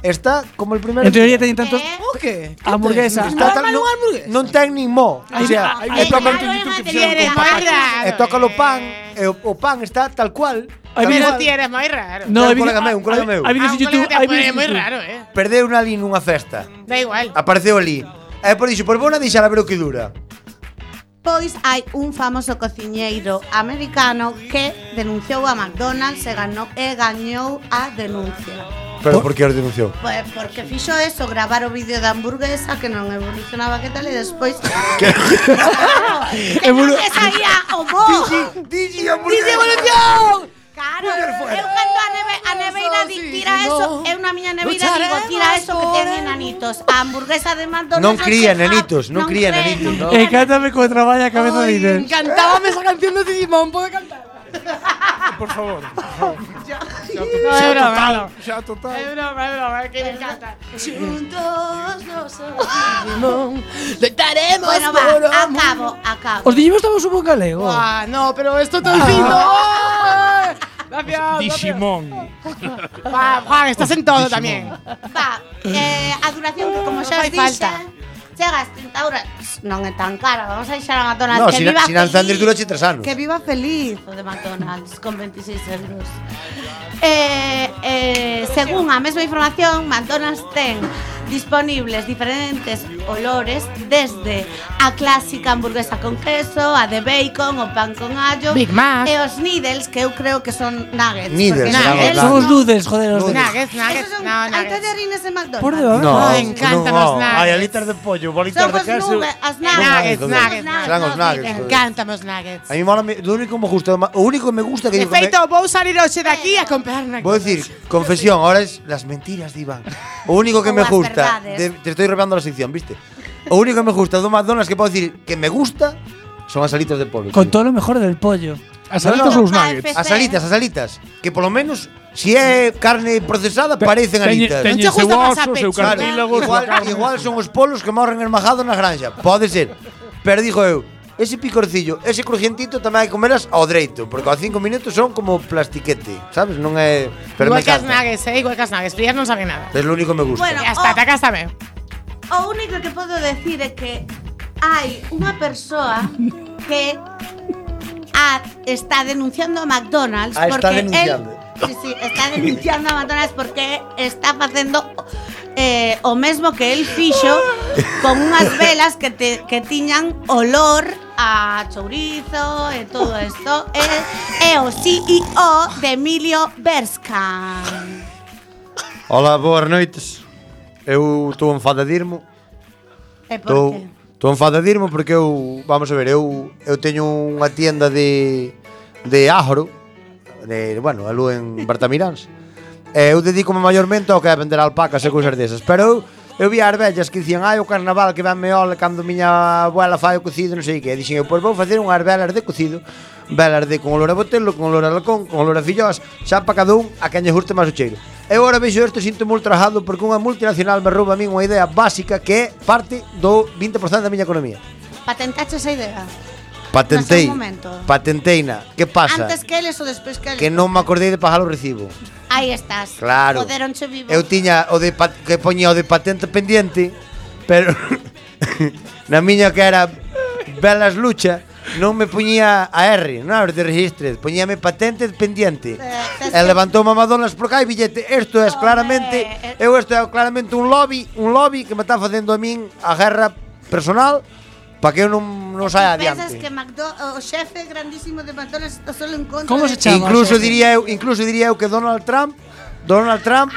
Speaker 2: está como el primeiro...
Speaker 7: En teoría teñen tantos
Speaker 8: Eh,
Speaker 12: O que?
Speaker 7: hamburguesas.
Speaker 2: Está tan, non, non ten nin mo. O
Speaker 7: Aí-
Speaker 2: sea,
Speaker 7: aí-
Speaker 2: é totalmente
Speaker 11: Claro, é
Speaker 2: distinto que
Speaker 11: material, é
Speaker 2: fixeron con pan.
Speaker 11: raro,
Speaker 2: E toca o pan, e o, o pan está tal cual. Tal
Speaker 8: Pero
Speaker 2: cual.
Speaker 8: ti eres moi raro.
Speaker 2: No,
Speaker 8: Ah,
Speaker 2: un colega meu, un colega meu.
Speaker 8: un colega te pone moi raro, eh.
Speaker 2: Perdeu unha ali nunha festa.
Speaker 8: Da igual.
Speaker 2: Apareceu ali. E por dixo, pois vou na deixar a ver o que dura.
Speaker 11: Pois hai un famoso cociñeiro americano que denunciou a McDonald's e, ganou, e gañou a denuncia.
Speaker 2: Pero por que os denunciou?
Speaker 11: Pois porque fixo eso, gravar o vídeo da hamburguesa que non evolucionaba que tal e despois que non que saía o bo. Digi
Speaker 2: Digi
Speaker 11: evolución. Claro, eu cando a, neve, a neveira di, tira eso, eu na miña neveira digo, tira eso que ten enanitos. A hamburguesa de McDonald's
Speaker 2: Non
Speaker 11: chega-
Speaker 2: cría enanitos, non cría
Speaker 11: cre-
Speaker 2: enanitos,
Speaker 11: non
Speaker 2: non.
Speaker 11: cre-
Speaker 7: Encántame cómo trabaja a cabeza de líder.
Speaker 8: Cantábame esa canción de Digimon, ¿puedo cantar?
Speaker 9: Por favor.
Speaker 8: No, es broma, no.
Speaker 9: Ya total.
Speaker 8: Es broma, es broma, que me encanta.
Speaker 12: Juntos nosotros Deitaremos
Speaker 11: Bueno, va,
Speaker 12: por amor.
Speaker 11: acabo, acabo.
Speaker 7: Os dijimos estamos un poco galego.
Speaker 8: Ah, no, pero esto te lo diciendo.
Speaker 11: Ah.
Speaker 8: ¡Ay! Gracias. Ah,
Speaker 9: Digimon.
Speaker 8: Juan, Juan, estás en todo también.
Speaker 11: Va, eh, a duración que como xa os
Speaker 8: Non fai
Speaker 11: dixe,
Speaker 8: falta.
Speaker 11: chega ás 30 horas. Non é tan cara, vamos a deixar a McDonald's
Speaker 2: No,
Speaker 11: que
Speaker 2: sin-
Speaker 11: viva
Speaker 2: sin alzandes
Speaker 11: feliz.
Speaker 2: dura che tres anos.
Speaker 11: Que viva feliz o de McDonald's con 26 euros. Eh, eh, según a mesma información, McDonald's ten disponibles diferentes olores desde a clásica hamburguesa con queso, a de bacon, o pan con allo
Speaker 8: Big Mac.
Speaker 11: e os needles que eu creo que son nuggets.
Speaker 2: Needles,
Speaker 11: porque
Speaker 2: claro, claro.
Speaker 7: Somos nudes, joder, los
Speaker 2: Nudes.
Speaker 7: de.
Speaker 8: Nuggets,
Speaker 11: Esos
Speaker 8: nuggets,
Speaker 11: son-
Speaker 8: no,
Speaker 11: Hai
Speaker 8: nuggets.
Speaker 11: tallarines de McDonald's.
Speaker 7: Por debajo.
Speaker 2: Ah,
Speaker 8: No, me encantan los nuggets.
Speaker 2: Hai alitas de pollo, bolitas
Speaker 11: Son
Speaker 2: de
Speaker 11: os
Speaker 2: queso.
Speaker 11: nuggets, as
Speaker 8: Nuggets,
Speaker 11: nuggets.
Speaker 2: Joder.
Speaker 8: nuggets,
Speaker 2: Serán os nuggets,
Speaker 8: Me
Speaker 2: joder.
Speaker 8: encantan los nuggets.
Speaker 2: A mí mola, do único que me gusta, o único que me gusta que
Speaker 8: De
Speaker 2: digo que me-
Speaker 8: feito, vou salir hoxe daqui a comprar nuggets.
Speaker 2: Voy a decir, confesión, ahora es las mentiras de Iván. O único que
Speaker 11: Ou
Speaker 2: me
Speaker 11: as
Speaker 2: gusta,
Speaker 11: verdades.
Speaker 2: de- te estoy robando la sección, ¿viste? O único que me gusta de McDonald's que puedo decir que me gusta son las alitas de pollo.
Speaker 7: Con
Speaker 2: tío.
Speaker 7: todo lo mejor del pollo.
Speaker 9: A salitas
Speaker 11: No,
Speaker 9: os
Speaker 11: no.
Speaker 9: nuggets.
Speaker 2: As alitas, as alitas, que por lo menos si é carne procesada parecen alitas.
Speaker 8: teñe- Non che gusta
Speaker 9: o
Speaker 8: pasar
Speaker 9: seu
Speaker 8: pecho.
Speaker 2: Claro,
Speaker 9: cartílago,
Speaker 2: igual, igual son os polos que morren esmajados na granja, pode ser. Pero digo eu, ese picorcillo, ese crujientito tamén hai que comeras ao dereito, porque ao cinco minutos son como plastiquete, sabes? Non é, pero
Speaker 8: igual
Speaker 2: me
Speaker 8: que as
Speaker 2: encanta.
Speaker 8: nuggets, eh, igual que as nuggets. Frías non saben nada.
Speaker 2: Es lo único que me gusta.
Speaker 11: Bueno,
Speaker 8: Ya está,
Speaker 11: o-
Speaker 8: te acásame.
Speaker 11: O único que podo decir é que hai unha persoa que a, está denunciando a McDonald's
Speaker 2: Ah, está
Speaker 11: porque
Speaker 2: denunciando.
Speaker 11: el Sí, sí, está denunciando a McDonald's porque está facendo eh, o mesmo que el fixo con unhas velas que te, que tiñan olor a chourizo e todo isto e, e o CEO de Emilio Berskan.
Speaker 2: Ola, boas noites. Eu estou enfadadirmo.
Speaker 11: E por
Speaker 2: Estou
Speaker 11: que?
Speaker 2: estou enfadadirmo porque eu, vamos a ver, eu eu teño unha tienda de de ajro, de, bueno, alú en Bertamiráns. E eu dedico-me maiormente ao que é vender alpacas e cousas desas, pero eu Eu vi as vellas que dicían, ai, o carnaval que venme ole cando miña abuela fai o cocido, non sei que. E Dixen, eu, pois vou facer unhas velas de cocido, velas de con olor a botelo, con olor a lacón, con olor a fillós, xa para cada un a quen lle guste máis o cheiro. Eu agora vexo isto e sinto moi ultrajado porque unha multinacional me rouba a min unha idea básica que é parte do 20% da miña economía.
Speaker 11: Patentache esa idea.
Speaker 2: Patentei.
Speaker 11: No, só un momento.
Speaker 2: Patenteina. Que pasa?
Speaker 11: Antes que eles ou despois que eles.
Speaker 2: Que non me acordei de pagar o recibo.
Speaker 11: Aí estás.
Speaker 2: Claro.
Speaker 11: Poderonche vivo.
Speaker 2: Eu tiña o de pat- que poñía o de patente pendiente, pero na miña que era Velas Lucha, non me poñía a R, non era de registres, poñíame patente pendiente.
Speaker 11: Eh,
Speaker 2: E levantou mamadonas por cá e billete, isto é claramente,
Speaker 11: Home, eh.
Speaker 2: eu isto é claramente un lobby, un lobby que me está facendo a min a guerra personal para que eu non, non saia
Speaker 11: Tú Pensas
Speaker 2: adiante.
Speaker 11: que Macdo o xefe grandísimo de McDonald's está solo en contra.
Speaker 7: Como
Speaker 11: de-
Speaker 2: E
Speaker 7: se chama?
Speaker 2: incluso diría eu, incluso diría eu que Donald Trump, Donald Trump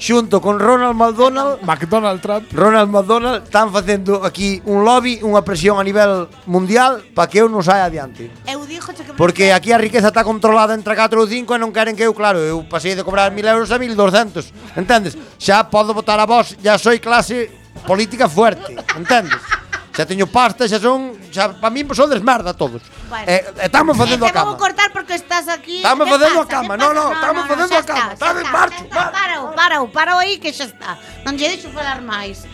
Speaker 2: xunto con Ronald McDonald,
Speaker 9: McDonald Trump.
Speaker 2: Ronald McDonald están facendo aquí un lobby, unha presión a nivel mundial para que eu non saia adiante.
Speaker 11: Eu díjoche que
Speaker 2: Porque aquí a riqueza está controlada entre 4 ou 5 e non queren que eu, claro, eu pasei de cobrar 1000 euros a 1200, entendes? Xa podo votar a vos, ya soy clase política fuerte, entendes? Xa teño pasta, xa son, xa para min son desmerda todos.
Speaker 11: Bueno.
Speaker 2: Eh, estamos facendo
Speaker 11: Eh,
Speaker 2: a
Speaker 11: te vou
Speaker 2: cama.
Speaker 11: cortar porque estás aquí.
Speaker 2: Estamos
Speaker 11: ¿Qué
Speaker 2: facendo a
Speaker 11: pasa?
Speaker 2: cama,
Speaker 11: ¿Qué
Speaker 2: no,
Speaker 11: pasa?
Speaker 2: no, estamos facendo
Speaker 11: xa
Speaker 2: a cama,
Speaker 11: está,
Speaker 2: estás en
Speaker 11: xa
Speaker 2: marcho,
Speaker 11: xa está, Parou, parou, parou aí que xa está. Non lle deixo falar máis.